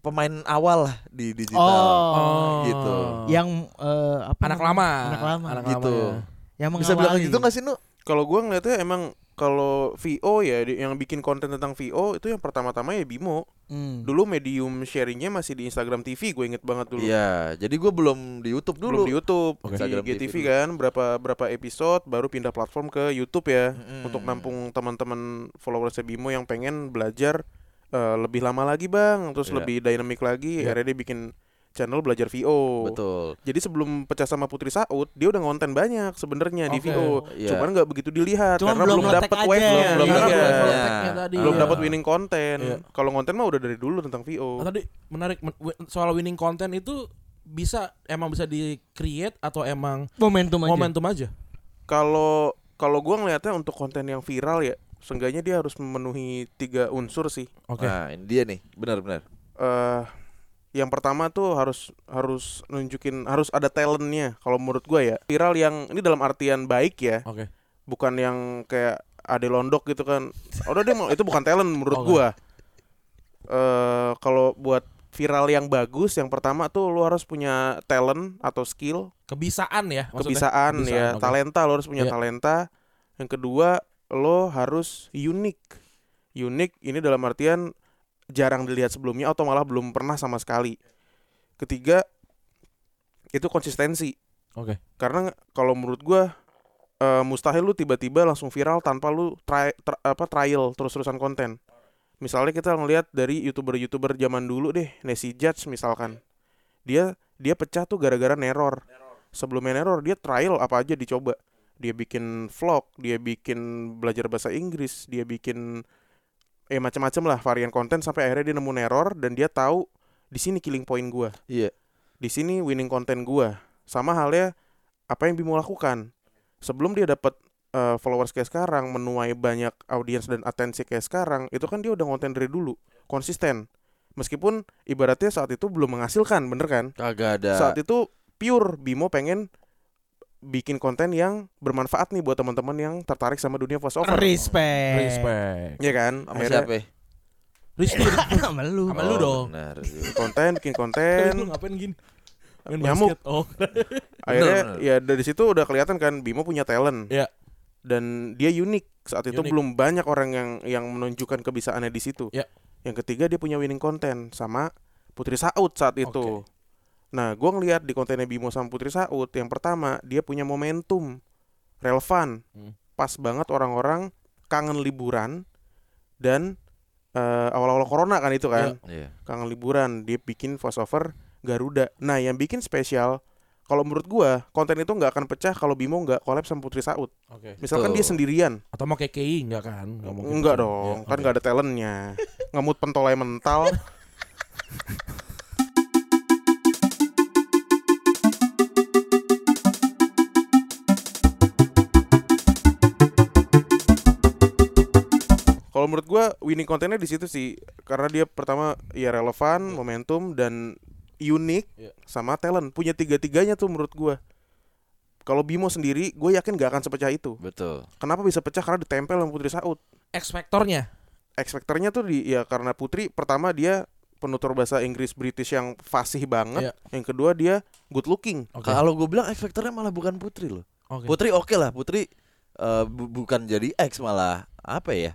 Speaker 4: pemain awal lah di digital.
Speaker 3: Oh.
Speaker 4: gitu.
Speaker 3: Yang eh, apa
Speaker 2: anak
Speaker 3: namanya?
Speaker 2: lama.
Speaker 3: Anak lama.
Speaker 2: Anak
Speaker 4: Gitu.
Speaker 2: lama. ya.
Speaker 3: Yang
Speaker 4: Bisa bilang
Speaker 3: mengawali.
Speaker 4: gitu gak sih Nu?
Speaker 5: Kalau gua ngeliatnya emang kalau VO ya di- yang bikin konten tentang VO itu yang pertama-tama ya Bimo.
Speaker 3: Hmm.
Speaker 5: Dulu medium sharingnya masih di Instagram TV, gue inget banget dulu.
Speaker 4: Iya, jadi gue belum di YouTube dulu.
Speaker 5: Belum di YouTube,
Speaker 4: Oke.
Speaker 5: di
Speaker 4: Instagram
Speaker 5: GTV
Speaker 4: TV.
Speaker 5: kan berapa berapa episode baru pindah platform ke YouTube ya
Speaker 4: Mm-mm.
Speaker 5: untuk nampung teman-teman followersnya Bimo yang pengen belajar eh, lebih lama lagi bang, terus
Speaker 4: Iya.
Speaker 5: lebih dynamic lagi.
Speaker 4: Iya.
Speaker 5: Akhirnya dia bikin channel belajar VO.
Speaker 4: Betul.
Speaker 5: Jadi sebelum pecah sama Putri Saud, dia udah ngonten banyak sebenarnya di
Speaker 2: Oke. Oh,
Speaker 5: VO.
Speaker 4: Iya.
Speaker 5: Cuman nggak begitu dilihat
Speaker 3: Cuma
Speaker 5: karena
Speaker 3: belum
Speaker 5: belum
Speaker 3: ngetek
Speaker 5: dapat
Speaker 3: aja.
Speaker 4: Belum
Speaker 5: wave-nya. Iya.
Speaker 4: dapet
Speaker 2: dapat
Speaker 4: wave-nya.
Speaker 2: kontaknya tadi.
Speaker 5: Belum
Speaker 2: Iya.
Speaker 5: dapat winning konten.
Speaker 2: Iya.
Speaker 5: Kalau konten mah udah dari dulu tentang
Speaker 2: Oh,
Speaker 5: VO.
Speaker 2: tadi menarik men- wi- soal winning content itu bisa emang bisa di create atau emang
Speaker 3: Momentum aja.
Speaker 2: momentum aja.
Speaker 5: Kalau kalau gua ngelihatnya untuk konten yang viral ya, seenggaknya dia harus memenuhi tiga unsur sih.
Speaker 2: Oke.
Speaker 4: Nah, ini dia nih, benar-benar.
Speaker 5: eh yang pertama tuh harus harus nunjukin harus ada talentnya kalau menurut gua ya viral yang ini dalam artian baik ya
Speaker 2: Oke.
Speaker 5: bukan yang kayak ade londok gitu kan udah deh mau- itu bukan talent menurut
Speaker 2: Oke.
Speaker 5: gua eh kalau buat viral yang bagus yang pertama tuh lu harus punya talent atau skill
Speaker 2: Kebisaan ya maksudnya.
Speaker 5: kebisaan
Speaker 2: Kebisaan,
Speaker 5: ya
Speaker 2: oke.
Speaker 5: talenta lo harus punya
Speaker 2: Iya.
Speaker 5: talenta yang kedua lo harus unik unik ini dalam artian jarang dilihat sebelumnya atau malah belum pernah sama sekali ketiga itu konsistensi
Speaker 2: Oke.
Speaker 5: karena kalau menurut gua eh, mustahil lu tiba-tiba langsung viral tanpa lu try, tr- apa trial terus-terusan konten misalnya kita ngelihat dari youtuber-youtuber zaman dulu deh Nesi Judge misalkan dia dia pecah tuh gara-gara neror sebelumnya neror dia trial apa aja dicoba dia bikin vlog dia bikin belajar bahasa Inggris dia bikin eh macam-macam lah varian konten sampai akhirnya dia nemu neror dan dia tahu di sini killing point gua
Speaker 4: Iya.
Speaker 5: di sini winning konten gua sama halnya apa yang Bimo lakukan sebelum dia dapat eh, followers kayak sekarang menuai banyak audiens dan atensi kayak sekarang itu kan dia udah konten dari dulu konsisten meskipun ibaratnya saat itu belum menghasilkan bener kan
Speaker 4: Kagak ada.
Speaker 5: saat itu pure Bimo pengen bikin konten yang bermanfaat nih buat teman-teman yang tertarik sama dunia voiceover
Speaker 3: Respect.
Speaker 2: Respect.
Speaker 5: Iya kan
Speaker 4: sama siapa? ya?
Speaker 2: Rizky
Speaker 3: <laughs> Sama lu.
Speaker 2: Sama lu
Speaker 4: Oh,
Speaker 2: dong.
Speaker 4: Benar.
Speaker 5: bikin konten bikin
Speaker 2: Terus
Speaker 5: konten
Speaker 2: <laughs> lu ngapain gini? Main
Speaker 5: Eh. Nyamuk.
Speaker 2: basket. Oh.
Speaker 5: akhirnya
Speaker 4: bener.
Speaker 5: ya dari situ udah kelihatan kan Bimo punya talent
Speaker 2: Iya.
Speaker 5: dan dia unik saat itu
Speaker 2: Unik.
Speaker 5: belum banyak orang yang yang menunjukkan kebisaannya di situ
Speaker 2: Iya.
Speaker 5: yang ketiga dia punya winning konten sama Putri Saud saat itu nah gua ngelihat di kontennya Bimo sama Putri Saud yang pertama dia punya momentum relevan
Speaker 2: Hmm.
Speaker 5: pas banget orang-orang kangen liburan dan eh, awal-awal corona kan itu kan
Speaker 4: <laughs> Iya.
Speaker 5: kangen liburan dia bikin voiceover Garuda nah yang bikin spesial kalau menurut gua konten itu nggak akan pecah kalau Bimo nggak collab sama Putri Saud
Speaker 2: Oke.
Speaker 5: misalkan
Speaker 4: Betul.
Speaker 5: dia sendirian
Speaker 2: Atau mau KKI enggak kan? Nggak mungkin.
Speaker 5: enggak dong
Speaker 2: Ya,
Speaker 5: kan
Speaker 2: oke.
Speaker 5: nggak ada
Speaker 2: <laughs>
Speaker 5: talentnya ngemut pentolai mental Kalau menurut gua winning kontennya di situ sih karena dia pertama ya relevan, momentum dan unik
Speaker 2: Iya.
Speaker 5: sama talent. Punya tiga-tiganya tuh menurut gua. Kalau Bimo sendiri, gue yakin gak akan sepecah itu.
Speaker 4: Betul.
Speaker 5: Kenapa bisa pecah? Karena ditempel sama Putri Saud.
Speaker 2: X faktornya.
Speaker 5: Expecternya tuh di ya karena Putri pertama dia penutur bahasa Inggris British yang fasih
Speaker 2: Iya.
Speaker 5: banget. Yang kedua dia good looking.
Speaker 2: Oke.
Speaker 4: Kalau gue bilang X Factornya malah bukan Putri loh.
Speaker 2: Oke.
Speaker 4: Putri oke lah, Putri eh, bu- bukan jadi X malah apa ya?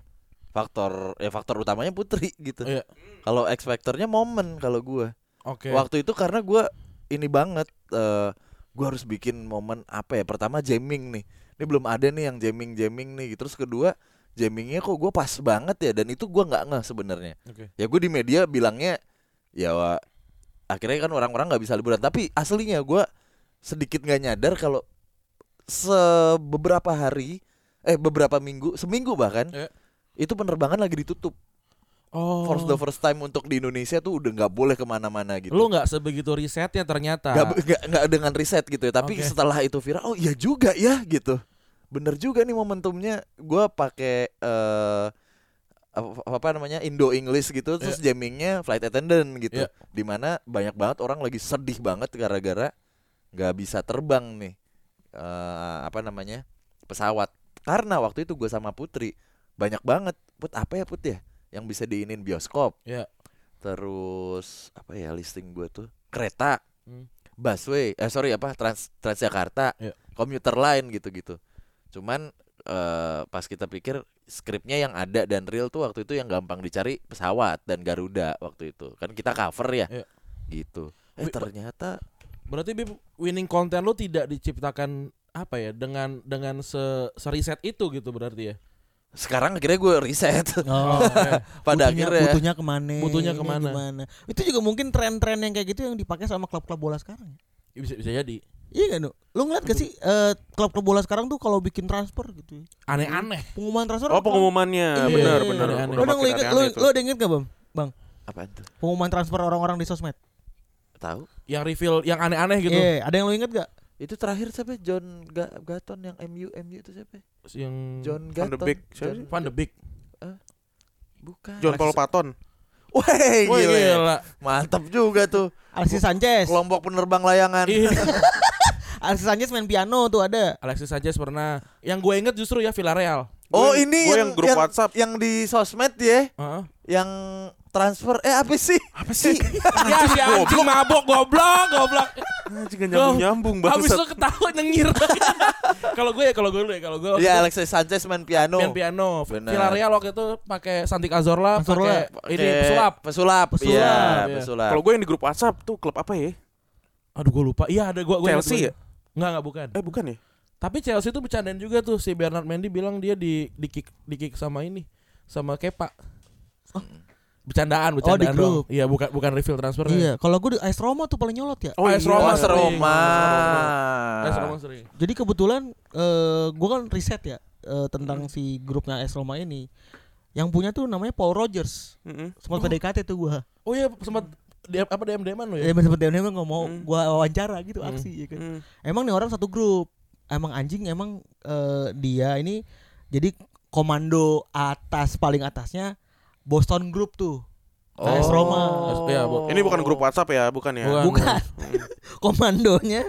Speaker 4: Faktor ya faktor utamanya Putri <laughs> gitu.
Speaker 2: Iya.
Speaker 4: Kalau X Factornya momen kalau gua.
Speaker 2: Oke.
Speaker 4: Waktu itu karena gua ini banget eh gua harus bikin momen apa ya? Pertama jamming nih. Ini belum ada nih yang jamming-jamming nih. Terus kedua jammingnya kok gua pas banget ya dan itu gua nggak ngeh sebenarnya.
Speaker 2: Oke.
Speaker 4: Ya gue di media bilangnya ya wa- akhirnya kan orang-orang nggak bisa liburan tapi aslinya gua sedikit nggak nyadar kalau sebeberapa hari eh beberapa minggu seminggu bahkan
Speaker 2: Iya.
Speaker 4: itu penerbangan lagi ditutup
Speaker 2: Oh.
Speaker 4: for the first time untuk di Indonesia tuh udah nggak boleh kemana-mana gitu.
Speaker 2: Lu nggak sebegitu risetnya ternyata.
Speaker 4: Nggak be- nggak- nggak dengan riset gitu ya tapi
Speaker 2: Oke.
Speaker 4: setelah itu viral oh iya juga ya gitu bener juga nih momentumnya gua pakai eh apa, apa namanya Indo English gitu terus jammingnya flight attendant gitu
Speaker 2: Iya.
Speaker 4: dimana banyak banget orang lagi sedih banget gara-gara nggak bisa terbang nih eh apa namanya pesawat karena waktu itu gue sama Putri banyak banget put apa ya put ya yang bisa diinin bioskop
Speaker 2: Iya.
Speaker 4: terus apa ya listing gue tuh kereta
Speaker 2: Hmm.
Speaker 4: busway eh sorry apa trans Transjakarta
Speaker 2: Iya.
Speaker 4: komuter lain gitu-gitu cuman eh, pas kita pikir skripnya yang ada dan real tuh waktu itu yang gampang dicari pesawat dan Garuda waktu itu kan kita cover ya
Speaker 2: Iya.
Speaker 4: gitu eh
Speaker 2: Wi-
Speaker 4: ternyata
Speaker 2: Berarti Bib, winning content lu tidak diciptakan apa ya dengan dengan se seriset itu gitu berarti ya.
Speaker 4: sekarang akhirnya gue riset
Speaker 2: <laughs>
Speaker 3: Oh.
Speaker 4: pada
Speaker 3: Butuhnya-
Speaker 4: akhirnya ya.
Speaker 3: butuhnya kemana
Speaker 2: Butuhnya
Speaker 3: ini
Speaker 2: kemana.
Speaker 3: gimana. itu juga mungkin tren-tren yang kayak gitu yang dipakai sama klub-klub bola sekarang ya.
Speaker 2: Ya, Bisa bisa jadi
Speaker 3: iya kan lu ngeliat gak sih eh, klub-klub bola sekarang tuh kalau bikin transfer gitu ya.
Speaker 2: aneh-aneh.
Speaker 3: pengumuman transfer
Speaker 5: Oh pengumumannya,
Speaker 3: Iya,
Speaker 5: benar
Speaker 3: iya,
Speaker 5: benar.
Speaker 2: iya,
Speaker 5: Udah
Speaker 2: iya.
Speaker 3: lu, udah
Speaker 5: makin
Speaker 3: inget, lu,
Speaker 5: aneh-aneh itu.
Speaker 3: lu ada inget gak bang bang
Speaker 4: apaan tuh
Speaker 3: pengumuman transfer orang-orang di sosmed
Speaker 4: tahu
Speaker 2: Yang reveal yang aneh-aneh gitu.
Speaker 3: Iya, ada yang lu inget gak
Speaker 4: itu terakhir siapa John Ga- Gaton yang MU MU itu siapa
Speaker 2: Yang
Speaker 4: John
Speaker 5: Van de
Speaker 4: Gaton
Speaker 5: Beek. Siapa
Speaker 4: John-
Speaker 5: sih?
Speaker 2: Van de Hmm. Beek.
Speaker 4: bukan
Speaker 5: John Paul Patton.
Speaker 4: Wey,
Speaker 2: Wah,
Speaker 4: gila. ya.
Speaker 2: gila.
Speaker 4: mantap juga tuh
Speaker 3: Alexis Sanchez
Speaker 4: kelompok penerbang layangan
Speaker 2: Iya.
Speaker 3: Alexis Sanchez main piano tuh ada
Speaker 2: Alexis Sanchez pernah. Yang gue inget justru ya Villarreal.
Speaker 4: oh
Speaker 5: Gua-
Speaker 4: ini
Speaker 5: gua
Speaker 4: yang,
Speaker 5: yang grup
Speaker 4: yang-
Speaker 5: WhatsApp.
Speaker 4: yang di sosmed ya
Speaker 2: Heeh.
Speaker 4: yang transfer eh apa sih apa sih
Speaker 2: <laughs> Ya si anjing mabok goblok goblok.
Speaker 5: Jangan nyambung nyambung
Speaker 2: Habis
Speaker 5: banget.
Speaker 2: itu ketawa nyengir. <laughs> kalau gue ya kalau gue dulu ya kalau gue waktu
Speaker 4: ya
Speaker 2: itu
Speaker 4: Alexis Sanchez main piano
Speaker 2: main piano.
Speaker 4: Benar.
Speaker 2: Villarreal waktu itu pakai Santi Cazorla,
Speaker 3: Cazorla.
Speaker 2: pakai ini pesulap.
Speaker 4: pesulap
Speaker 3: Pesulap,
Speaker 4: Iya,
Speaker 2: iya.
Speaker 4: pesulap
Speaker 5: Kalau gue yang di grup WhatsApp tuh klub apa ya?
Speaker 2: Aduh gue lupa. Iya ada gue gue ingat,
Speaker 5: Chelsea
Speaker 2: gue
Speaker 5: ya?
Speaker 2: ingat. Enggak enggak bukan.
Speaker 5: Eh bukan ya?
Speaker 2: Tapi Chelsea itu bercandain juga tuh si Bernard Mendy bilang dia di di kick, di kick sama ini sama Kepa.
Speaker 5: Oh,
Speaker 2: Bercandaan, bercandaan
Speaker 3: di grup.
Speaker 2: doang. Iya, bukan bukan refill transfer.
Speaker 3: iya kalau gue di AS Roma tuh paling nyolot ya
Speaker 5: Oh,
Speaker 2: AS
Speaker 5: iya.
Speaker 2: Roma
Speaker 4: Oh,
Speaker 2: sering.
Speaker 4: Roma.
Speaker 2: AS Roma
Speaker 5: Ah.
Speaker 2: sering.
Speaker 3: Jadi kebetulan eh gue kan riset ya eh,
Speaker 5: Hmm.
Speaker 3: tentang si grupnya AS Roma ini. Yang punya tuh namanya Paul Rogers.
Speaker 5: Mm-mm.
Speaker 3: Sempat PDKT tuh gue.
Speaker 2: Oh iya, sempat DM, apa DM DM-an lo ya?
Speaker 5: Iya.
Speaker 3: Ya sempat dia emang nggak mau
Speaker 5: Hmm.
Speaker 3: gue wawancara gitu
Speaker 2: Hmm.
Speaker 3: aksi. ya kan.
Speaker 5: Mm.
Speaker 3: Emang nih orang satu grup. Emang anjing emang eh, dia ini jadi komando atas paling atasnya Boston Group tuh.
Speaker 4: Oh.
Speaker 3: AS Roma.
Speaker 2: Iya, Bu.
Speaker 5: Ini bukan grup WhatsApp ya, bukan ya?
Speaker 2: Bukan.
Speaker 3: Bukan.
Speaker 2: Hmm.
Speaker 3: <laughs> Komandonya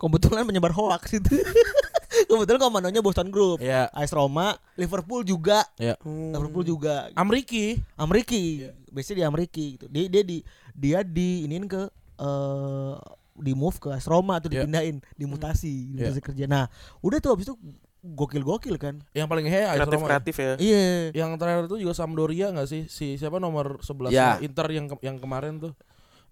Speaker 3: kebetulan penyebar hoax itu. <laughs> kebetulan komandonya Boston Group.
Speaker 2: Iya.
Speaker 3: AS Roma, Liverpool juga,
Speaker 5: Hmm.
Speaker 3: Liverpool juga.
Speaker 2: Amriki.
Speaker 3: Ameriki,
Speaker 2: Iya.
Speaker 3: biasanya di Ameriki gitu. Dia dia di dia di iniin ke eh di move ke AS Roma tuh
Speaker 2: Iya.
Speaker 3: dipindahin,
Speaker 2: Iya.
Speaker 3: dimutasi, dimutasi kerja. Nah, udah tuh abis itu gokil-gokil kan.
Speaker 2: Yang paling heh AS
Speaker 5: kreatif
Speaker 2: Roma.
Speaker 5: kreatif ya.
Speaker 3: Iya.
Speaker 2: Yang terakhir itu juga Sampdoria nggak sih? Si siapa nomor 11 nya
Speaker 4: Ya.
Speaker 5: Iya.
Speaker 2: Inter yang ke- yang kemarin tuh.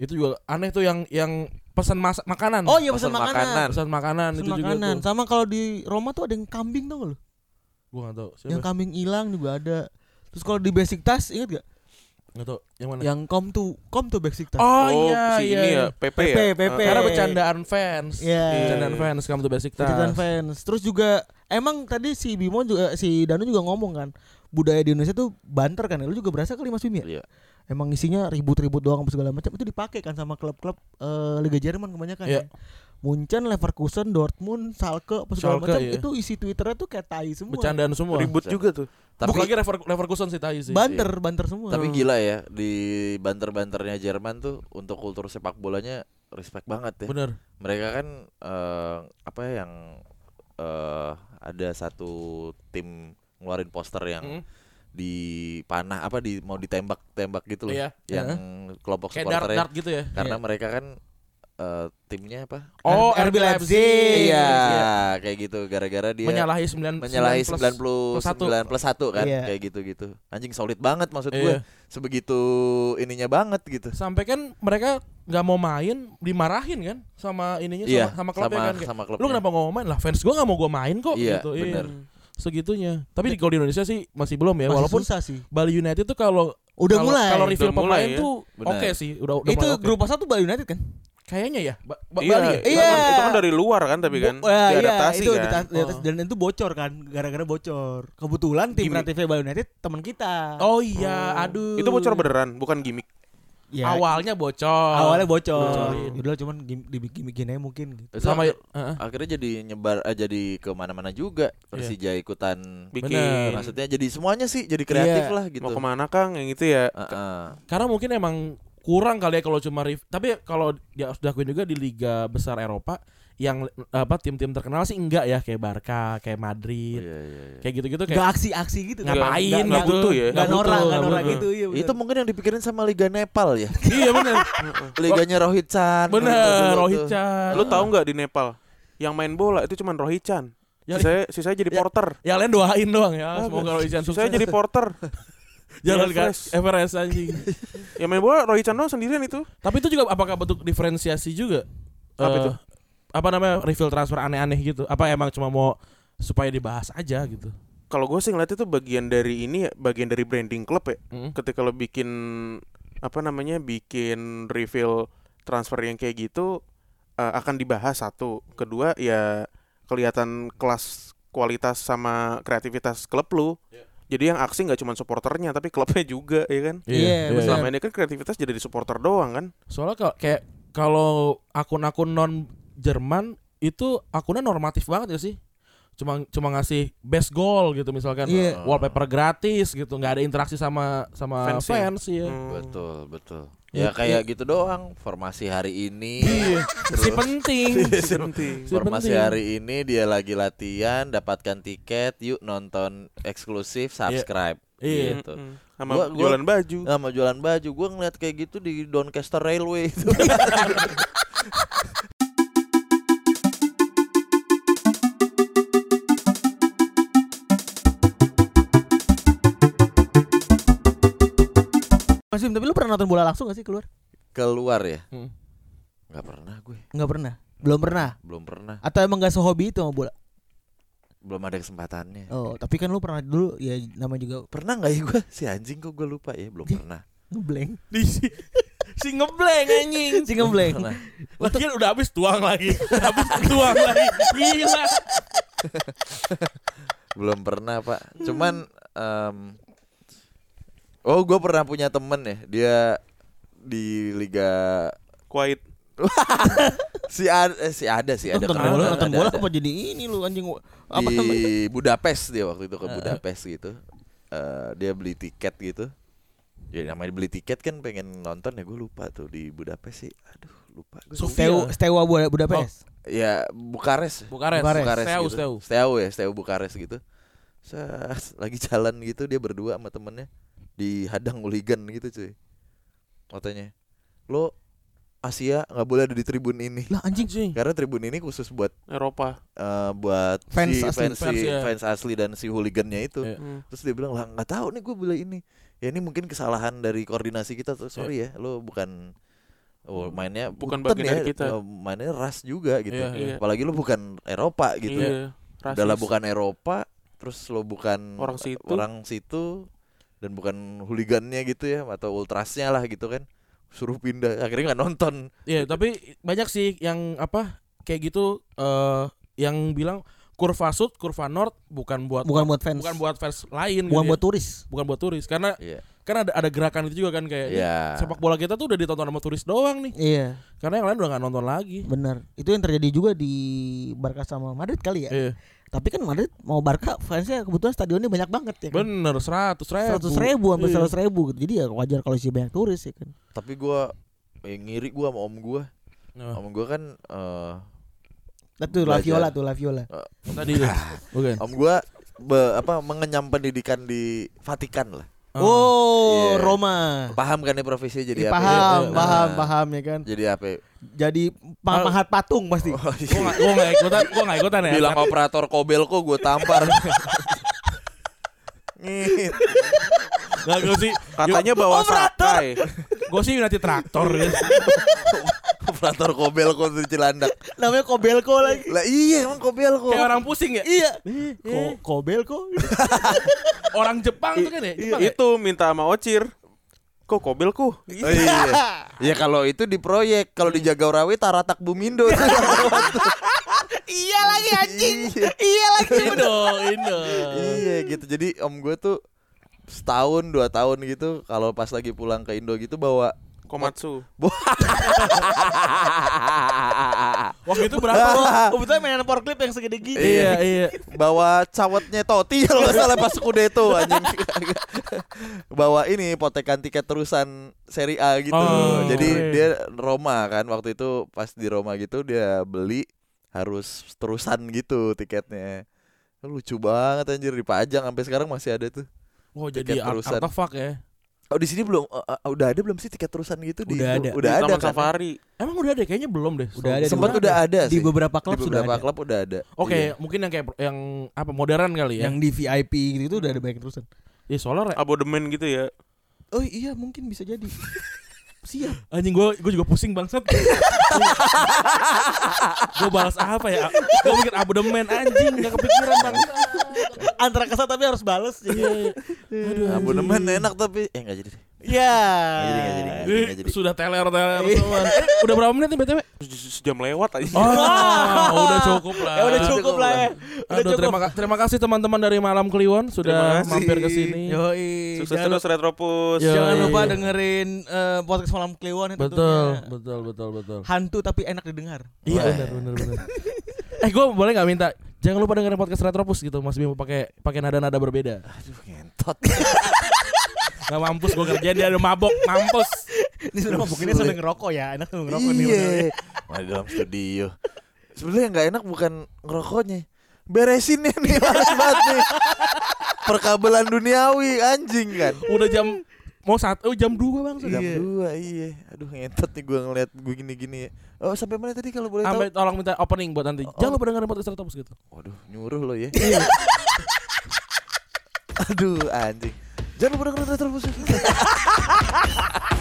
Speaker 2: Itu juga aneh tuh yang yang pesan mas- makanan.
Speaker 3: Oh iya pesan
Speaker 4: Pesan
Speaker 3: makanan.
Speaker 4: makanan.
Speaker 2: Hmm, pesan makanan
Speaker 3: Pesan
Speaker 2: itu
Speaker 3: makanan.
Speaker 2: juga tuh.
Speaker 3: Sama kalau di Roma tuh ada yang kambing tau gak lu?
Speaker 2: Gua enggak tahu.
Speaker 3: Yang
Speaker 2: Siapa?
Speaker 3: kambing hilang juga ada. Terus kalau di Besiktas inget gak?
Speaker 2: Enggak tahu. Yang mana?
Speaker 3: Yang kom tuh, kom tuh Besiktas.
Speaker 2: Oh, iya,
Speaker 5: si
Speaker 2: iya,
Speaker 5: ini
Speaker 2: iya.
Speaker 5: ya, PP,
Speaker 3: PP,
Speaker 5: ya.
Speaker 3: PP.
Speaker 5: Eh,
Speaker 2: Ah, Karena bercandaan fans.
Speaker 3: Iya.
Speaker 2: Bercandaan fans kamu tuh basic tas.
Speaker 3: Kejutan fans. Terus juga emang tadi si Bimo juga si Danu juga ngomong kan budaya di Indonesia tuh banter kan. Lu juga berasa kali Mas Bim ya?
Speaker 4: Iya.
Speaker 3: Emang isinya ribut-ribut doang apa segala macam itu dipakai kan sama klub-klub eh, Liga Jerman kebanyakan.
Speaker 2: Iya.
Speaker 3: kan. Munchen, Leverkusen, Dortmund, Schalke apa segala
Speaker 2: Schalke,
Speaker 3: macam
Speaker 2: iya.
Speaker 3: itu isi Twitternya tuh kayak tai semua.
Speaker 2: Bercandaan semua.
Speaker 5: Oh, ribut juga tuh.
Speaker 4: tapi
Speaker 2: Bukan lagi Lever- Leverkusen sih tai sih. iya.
Speaker 3: Banter, banter semua.
Speaker 4: tapi gila ya di banter-banternya Jerman tuh untuk kultur sepak bolanya respect banget ya
Speaker 2: Bener.
Speaker 4: mereka kan eh, apa ya, yang eh ada satu tim ngeluarin poster yang
Speaker 2: Mm.
Speaker 4: di panah apa di mau ditembak-tembak gitu loh
Speaker 2: Iya.
Speaker 4: yang kelompok
Speaker 2: Kayak dart
Speaker 4: supporternya
Speaker 2: dart gitu ya.
Speaker 4: karena mereka kan eh, timnya apa
Speaker 2: Oh,
Speaker 3: RB
Speaker 2: RB Leipzig.
Speaker 3: Leipzig.
Speaker 4: iya
Speaker 2: Iya.
Speaker 4: kayak gitu gara-gara dia
Speaker 2: Menyalahi 9
Speaker 4: menyalahi
Speaker 2: 9 plus-
Speaker 4: 99
Speaker 2: satu.
Speaker 4: plus 1 kan
Speaker 3: Iya.
Speaker 4: kayak gitu-gitu anjing solid banget maksud
Speaker 2: Iya.
Speaker 4: gue sebegitu ininya banget gitu
Speaker 2: Sampai kan mereka nggak mau main dimarahin kan sama ininya sama-
Speaker 4: Iya,
Speaker 2: sama, klubnya
Speaker 4: sama-
Speaker 2: kan kayak,
Speaker 4: sama klubnya.
Speaker 2: lu kenapa nggak mau main lah fans gua nggak mau gua main kok
Speaker 4: Iya,
Speaker 2: gitu
Speaker 4: bener.
Speaker 2: segitunya tapi di kalau di Indonesia sih masih belum ya
Speaker 3: Masih
Speaker 2: walaupun
Speaker 3: susah sih.
Speaker 2: Bali United tuh kalau
Speaker 3: Udah
Speaker 2: kalau-
Speaker 3: mulai.
Speaker 2: kalau reveal
Speaker 5: Udah mulai
Speaker 2: pemain
Speaker 5: ya.
Speaker 2: tuh
Speaker 4: Bener.
Speaker 2: oke sih udah udah ya.
Speaker 3: itu
Speaker 2: mulai oke.
Speaker 3: grup satu Bali United kan?
Speaker 2: kayaknya ya Ba- Ba-
Speaker 5: Iya,
Speaker 2: Bali ya?
Speaker 5: itu
Speaker 3: Iya.
Speaker 5: kan- itu kan dari luar kan tapi kan
Speaker 3: Bo- ya, iya,
Speaker 5: diadaptasi
Speaker 3: itu
Speaker 5: kan.
Speaker 3: dita- diadaptasi.
Speaker 2: Oh.
Speaker 3: dan itu bocor kan gara-gara bocor. Kebetulan tim
Speaker 5: Gimik.
Speaker 3: kreatifnya Bali United teman kita.
Speaker 2: oh iya
Speaker 3: Hmm.
Speaker 2: aduh
Speaker 5: Itu bocor beneran, bukan gimmick.
Speaker 3: Ya,
Speaker 2: awalnya bocor
Speaker 3: awalnya bocor.
Speaker 2: Bocorin.
Speaker 3: Udah cuman gim- dibikin-bikin aja mungkin gitu.
Speaker 4: Itu
Speaker 2: sama eh,
Speaker 4: ak-
Speaker 2: Heeh.
Speaker 4: akhirnya jadi nyebar eh, jadi kemana-mana juga Persija ikutan
Speaker 5: Bikin.
Speaker 2: Bener.
Speaker 4: maksudnya jadi semuanya sih jadi kreatif
Speaker 2: Iya.
Speaker 4: lah gitu
Speaker 5: Mau kemana Kang yang itu ya?
Speaker 4: Heeh.
Speaker 2: karena mungkin emang kurang kali ya kalau cuma ref tapi kalau dia harus diakuin juga di liga besar Eropa yang apa tim-tim terkenal sih enggak ya kayak Barca kayak
Speaker 5: Oh,
Speaker 2: Madrid
Speaker 4: Iya, iya, iya.
Speaker 2: kayak gitu-gitu
Speaker 3: Gak
Speaker 2: kayak
Speaker 3: aksi-aksi gitu.
Speaker 5: Nggak-
Speaker 2: ngapain
Speaker 5: nggak- nggak
Speaker 2: gitu
Speaker 5: butuh ya.
Speaker 3: Gak
Speaker 2: butuh,
Speaker 3: norak,
Speaker 2: nggak
Speaker 3: gak norak
Speaker 2: butuh.
Speaker 3: gitu. Iya,
Speaker 4: itu mungkin yang dipikirin sama Liga Nepal ya
Speaker 2: iya
Speaker 3: <laughs>
Speaker 2: bener
Speaker 4: liganya Rohit Chan
Speaker 2: bener
Speaker 4: Dulu tuh.
Speaker 2: Rohit Chan
Speaker 5: Lu tahu nggak di Nepal yang main bola itu cuman Rohichan.
Speaker 2: Ya,
Speaker 5: Sisanya, sisanya jadi
Speaker 2: Ya.
Speaker 5: porter.
Speaker 2: yang lain doain doang
Speaker 3: Oh,
Speaker 2: ya.
Speaker 5: Ah,
Speaker 2: Semoga Roy Chan sukses.
Speaker 5: Sisanya jadi porter.
Speaker 2: Jangan
Speaker 5: Everest.
Speaker 2: kan Everest anjing.
Speaker 5: Yang main bola Roy Chan doang sendirian itu.
Speaker 2: Tapi itu juga apakah bentuk diferensiasi juga?
Speaker 5: Apa
Speaker 2: Eh,
Speaker 5: itu?
Speaker 2: Apa namanya refill transfer aneh-aneh gitu? Apa emang cuma mau supaya dibahas aja gitu?
Speaker 5: Kalau gue sih ngeliat itu bagian dari ini ya, bagian dari branding klub ya.
Speaker 2: Mm.
Speaker 5: Ketika lo bikin apa namanya bikin refill transfer yang kayak gitu eh, akan dibahas satu. Kedua ya kelihatan kelas kualitas sama kreativitas klub lu.
Speaker 4: Ya.
Speaker 5: Jadi yang aksi nggak cuma supporternya tapi klubnya juga ya kan.
Speaker 3: Iya, benar.
Speaker 5: Selama ini kan kreativitas jadi di supporter doang kan.
Speaker 2: Soalnya kalau kayak kalau akun-akun non Jerman itu akunnya normatif banget ya sih. Cuma cuma ngasih best goal gitu misalkan
Speaker 3: Iya.
Speaker 2: wallpaper gratis gitu, nggak ada interaksi sama sama
Speaker 5: Fans
Speaker 2: fans, ya.
Speaker 5: ya. Hmm. <laughs>
Speaker 4: Betul, betul. Ya kayak gitu doang formasi hari ini.
Speaker 2: Si
Speaker 5: <laughs>
Speaker 2: penting.
Speaker 5: Itu penting.
Speaker 2: Si
Speaker 4: Formasi
Speaker 2: penting.
Speaker 4: hari ini dia lagi latihan, dapatkan tiket, yuk nonton eksklusif, subscribe.
Speaker 2: Iya.
Speaker 4: Gitu.
Speaker 5: Mm-mm. Hmm. Sama
Speaker 4: Gua- gua-
Speaker 5: jualan baju.
Speaker 4: Nah, mau jualan baju, gua ngeliat kayak gitu di Doncaster Railway <laughs> itu.
Speaker 3: Mas Bim, tapi lu pernah nonton bola langsung gak sih keluar?
Speaker 4: Keluar ya?
Speaker 2: Hmm.
Speaker 4: Gak pernah gue,
Speaker 3: Nggak pernah. Belum pernah.
Speaker 4: belum pernah,
Speaker 3: Atau emang gak sehobi itu sama bola?
Speaker 4: belum ada kesempatannya.
Speaker 3: Oh, tapi kan lu pernah dulu ya namanya juga
Speaker 4: Pernah nggak ya gue? Si anjing kok gue lupa ya, belum pernah.
Speaker 3: ngeblank.
Speaker 2: Di si, si ngeblank anjing.
Speaker 3: Si ngeblank.
Speaker 4: Pernah.
Speaker 2: Lagian udah habis tuang lagi. habis tuang lagi. Gila.
Speaker 4: Belum pernah pak. Cuman, em, oh gue pernah punya temen ya, dia di liga
Speaker 5: Quiet.
Speaker 4: si ada eh, si ada sih ada
Speaker 3: nonton
Speaker 4: Keren,
Speaker 3: bola,
Speaker 4: ada,
Speaker 3: nonton
Speaker 4: ada,
Speaker 3: bola
Speaker 4: ada.
Speaker 3: apa jadi ini lu anjing apa namanya?
Speaker 4: di Budapest dia waktu itu ke Budapest gitu Eh, dia beli tiket gitu ya namanya beli tiket kan pengen nonton ya gue lupa tuh di Budapest sih aduh lupa gue
Speaker 2: Sofia.
Speaker 3: Steaua Steaua Buda- Budapest.
Speaker 4: ya Bukares
Speaker 2: Bukares.
Speaker 3: Bukares.
Speaker 2: Steu,
Speaker 4: gitu.
Speaker 2: steu.
Speaker 4: Steu ya Steu Bukares gitu Ses, lagi jalan gitu dia berdua sama temennya dihadang hooligan gitu cuy katanya lo Asia nggak boleh ada di tribun ini
Speaker 3: Lah anjing.
Speaker 2: Anjing.
Speaker 4: karena tribun ini khusus buat
Speaker 5: Eropa.
Speaker 4: eh, buat
Speaker 3: Fans
Speaker 4: si
Speaker 3: asli.
Speaker 4: fans, si-
Speaker 2: Fans, ya.
Speaker 4: fans asli dan si hooligannya itu.
Speaker 2: Iya.
Speaker 5: Hmm.
Speaker 4: Terus dia bilang lah nggak tahu nih gue beli ini. Ya ini mungkin kesalahan dari koordinasi kita tuh. Sorry ya, lo bukan oh, mainnya
Speaker 5: Iya. Hmm. Bukan
Speaker 4: Punten
Speaker 5: bagian dari kita.
Speaker 4: eh, mainnya ras juga gitu.
Speaker 2: Iya,
Speaker 5: iya.
Speaker 4: Apalagi lo bukan Eropa gitu.
Speaker 5: Iya, rasis.
Speaker 4: Udahlah bukan Eropa, terus lo bukan
Speaker 5: Orang situ.
Speaker 4: orang situ dan bukan hooligannya gitu ya atau ultrasnya lah gitu kan. Suruh pindah, akhirnya nggak nonton.
Speaker 2: Iya, tapi banyak sih yang apa kayak gitu eh yang bilang kurva sud, kurva north bukan buat
Speaker 3: Bukan buat fans.
Speaker 2: Oh. bukan buat fans lain
Speaker 3: Bukan
Speaker 2: gitu
Speaker 3: buat
Speaker 2: ya.
Speaker 3: turis.
Speaker 2: bukan buat turis karena
Speaker 4: Iya.
Speaker 2: kan ada ada gerakan itu juga kan kayak ini
Speaker 4: Iya.
Speaker 2: sepak bola kita tuh udah ditonton sama turis doang nih
Speaker 3: Iya,
Speaker 2: karena yang lain udah nggak nonton lagi
Speaker 3: benar. Itu yang terjadi juga di Barca sama Madrid kali ya.
Speaker 2: Iya.
Speaker 3: Tapi kan Madrid mau Barca fansnya kebetulan stadionnya banyak banget ya. Kan?
Speaker 2: bener seratus ribu
Speaker 3: Seratus ribu sampai
Speaker 2: Iya.
Speaker 3: seratus ribu gitu. Jadi ya wajar kalau sih banyak turis ya kan.
Speaker 4: Tapi gue eh, ngiri gue sama om gue.
Speaker 2: Nah,
Speaker 4: Om gue kan eh
Speaker 3: Nah, tuh La
Speaker 4: Belajar.
Speaker 3: Viola tuh La Viola.
Speaker 2: tadi tuh. Oke.
Speaker 4: om gua be- apa mengenyam pendidikan di Vatikan lah.
Speaker 2: Ah.
Speaker 3: Oh,
Speaker 4: Iya.
Speaker 3: Roma.
Speaker 4: Paham kan ya profesi
Speaker 3: Ih,
Speaker 4: jadi
Speaker 3: Iya,
Speaker 4: apa?
Speaker 3: paham,
Speaker 4: Nah,
Speaker 3: paham, paham ya kan.
Speaker 4: Jadi apa?
Speaker 3: Jadi
Speaker 2: Mal-
Speaker 3: pamahat patung pasti.
Speaker 4: Iya. Oh,
Speaker 2: Gua nggak gua nggak ikutan, gua nggak ikutan ya.
Speaker 4: Bilang
Speaker 2: Tapi-
Speaker 4: operator Kobelko gua tampar. <laughs> Ngit.
Speaker 2: nggak gua sih.
Speaker 5: Katanya
Speaker 4: oh,
Speaker 5: bawa sakai.
Speaker 2: Gua sih nanti traktor.
Speaker 3: <laughs>
Speaker 2: ya.
Speaker 4: operator Kobelko di Cilandak.
Speaker 3: Namanya Kobelko
Speaker 4: <laughs>
Speaker 3: lagi.
Speaker 4: Lah iya emang Kobelko.
Speaker 2: Kayak orang pusing ya.
Speaker 3: Iya. Ko Kobelko.
Speaker 2: Orang Jepang tuh kan
Speaker 3: Iya.
Speaker 4: Iya.
Speaker 2: ya. Jepang ya?
Speaker 5: itu minta sama Ocir. Kok kobelku?
Speaker 4: Oh, iya. Ya kalau itu di proyek, kalau
Speaker 2: Iya.
Speaker 4: di Jagorawi Taratak Bumindo.
Speaker 3: iya lagi <laughs> anjing.
Speaker 4: Iya.
Speaker 3: iya lagi.
Speaker 2: Indo, Indo.
Speaker 4: iya gitu jadi om gue tuh setahun dua tahun gitu kalau pas lagi pulang ke Indo gitu bawa
Speaker 5: Komatsu.
Speaker 2: Waktu itu berapa?
Speaker 3: Kebetulan mainan forklift yang segede gini.
Speaker 2: <laughs> iya, iya.
Speaker 4: <laughs> bawa cawetnya Toti kalau nggak salah pas kudeto anjing <laughs> bawa ini potekan tiket terusan seri A gitu
Speaker 2: Oh,
Speaker 4: jadi
Speaker 2: keren.
Speaker 4: dia Roma kan waktu itu pas di Roma gitu dia beli harus terusan gitu tiketnya lucu banget anjir dipajang sampai sekarang masih ada tuh
Speaker 2: Wow, jadi
Speaker 4: Tiket
Speaker 2: ar-
Speaker 4: terusan.
Speaker 2: artefak ya.
Speaker 4: Oh di sini belum eh, eh, udah ada belum sih tiket terusan gitu di
Speaker 2: Udah ada.
Speaker 4: udah
Speaker 5: Di
Speaker 4: ada
Speaker 5: Taman
Speaker 4: kan?
Speaker 5: Safari.
Speaker 2: Emang udah ada kayaknya belum deh.
Speaker 3: Udah ada,
Speaker 4: Sempat
Speaker 3: di-
Speaker 4: udah ada
Speaker 3: di
Speaker 4: sih.
Speaker 3: beberapa
Speaker 4: Di
Speaker 3: klub sudah
Speaker 4: beberapa
Speaker 3: ada.
Speaker 4: klub udah ada.
Speaker 2: Oke,
Speaker 4: Iya.
Speaker 2: mungkin yang kayak yang apa modern kali ya.
Speaker 3: Yang di VIP gitu itu udah ada banyak terusan.
Speaker 2: Ya soalnya re-
Speaker 5: Abodemen gitu ya.
Speaker 3: Oh iya mungkin bisa <laughs> jadi. Siap.
Speaker 2: anjing gua gua juga pusing bangsat. <laughs> gua balas apa ya? Gua mikir abodemen anjing gak kepikiran
Speaker 4: <laughs>
Speaker 2: bang.
Speaker 4: Iya,
Speaker 3: Antara kesal tapi harus balas.
Speaker 2: Iya, iya. Aduh,
Speaker 4: Abonemen enak tapi eh enggak jadi deh.
Speaker 3: Ya.
Speaker 4: jadi, nggak jadi, nggak jadi.
Speaker 2: Ini sudah teler-teler semua. <laughs> Eh, udah berapa menit nih BTW?
Speaker 5: Se- Sejam lewat aja.
Speaker 2: Oh, udah cukup lah.
Speaker 3: Ya udah cukup lah ya. Udah
Speaker 2: Aduh, terima, ka- terima kasih teman-teman dari Malam Kliwon sudah
Speaker 5: Terima kasih.
Speaker 2: mampir ke sini.
Speaker 3: Yoi.
Speaker 5: Sukses
Speaker 3: Jangan,
Speaker 5: terus Retropus.
Speaker 2: Yo.
Speaker 4: Iya,
Speaker 3: jangan
Speaker 2: Yoi.
Speaker 3: lupa dengerin eh, podcast malam Kliwon ya
Speaker 2: Betul,
Speaker 3: tentunya.
Speaker 2: betul, betul, betul.
Speaker 3: Hantu tapi enak didengar.
Speaker 2: Iya
Speaker 4: Wah.
Speaker 2: benar benar benar. eh gue boleh nggak minta jangan lupa dengerin podcast Retropus gitu Mas Bimo pakai pakai nada-nada berbeda.
Speaker 4: Aduh ngentot.
Speaker 2: Gak mampus gue kerjain dia udah mabok mampus.
Speaker 3: Ini sudah mungkin sambil ngerokok ya, enak sambil ngerokok nih. bener.
Speaker 4: Iya. Wah, di dalam studio. Sebenarnya yang nggak enak bukan ngerokoknya. Beresinnya nih males banget nih. Perkabelan duniawi anjing kan.
Speaker 2: Udah jam mau satu jam dua bang sudah.
Speaker 4: Jam dua iya. Aduh ngentot nih gua ngeliat gue gini-gini. ya. Oh sampai mana tadi kalau boleh tahu?
Speaker 2: Sampai tolong minta opening buat nanti. Jangan lupa dengerin podcast Retropus gitu.
Speaker 4: Waduh nyuruh lo ya. <laughs> Aduh anjing. Jangan lupa dengerin terus.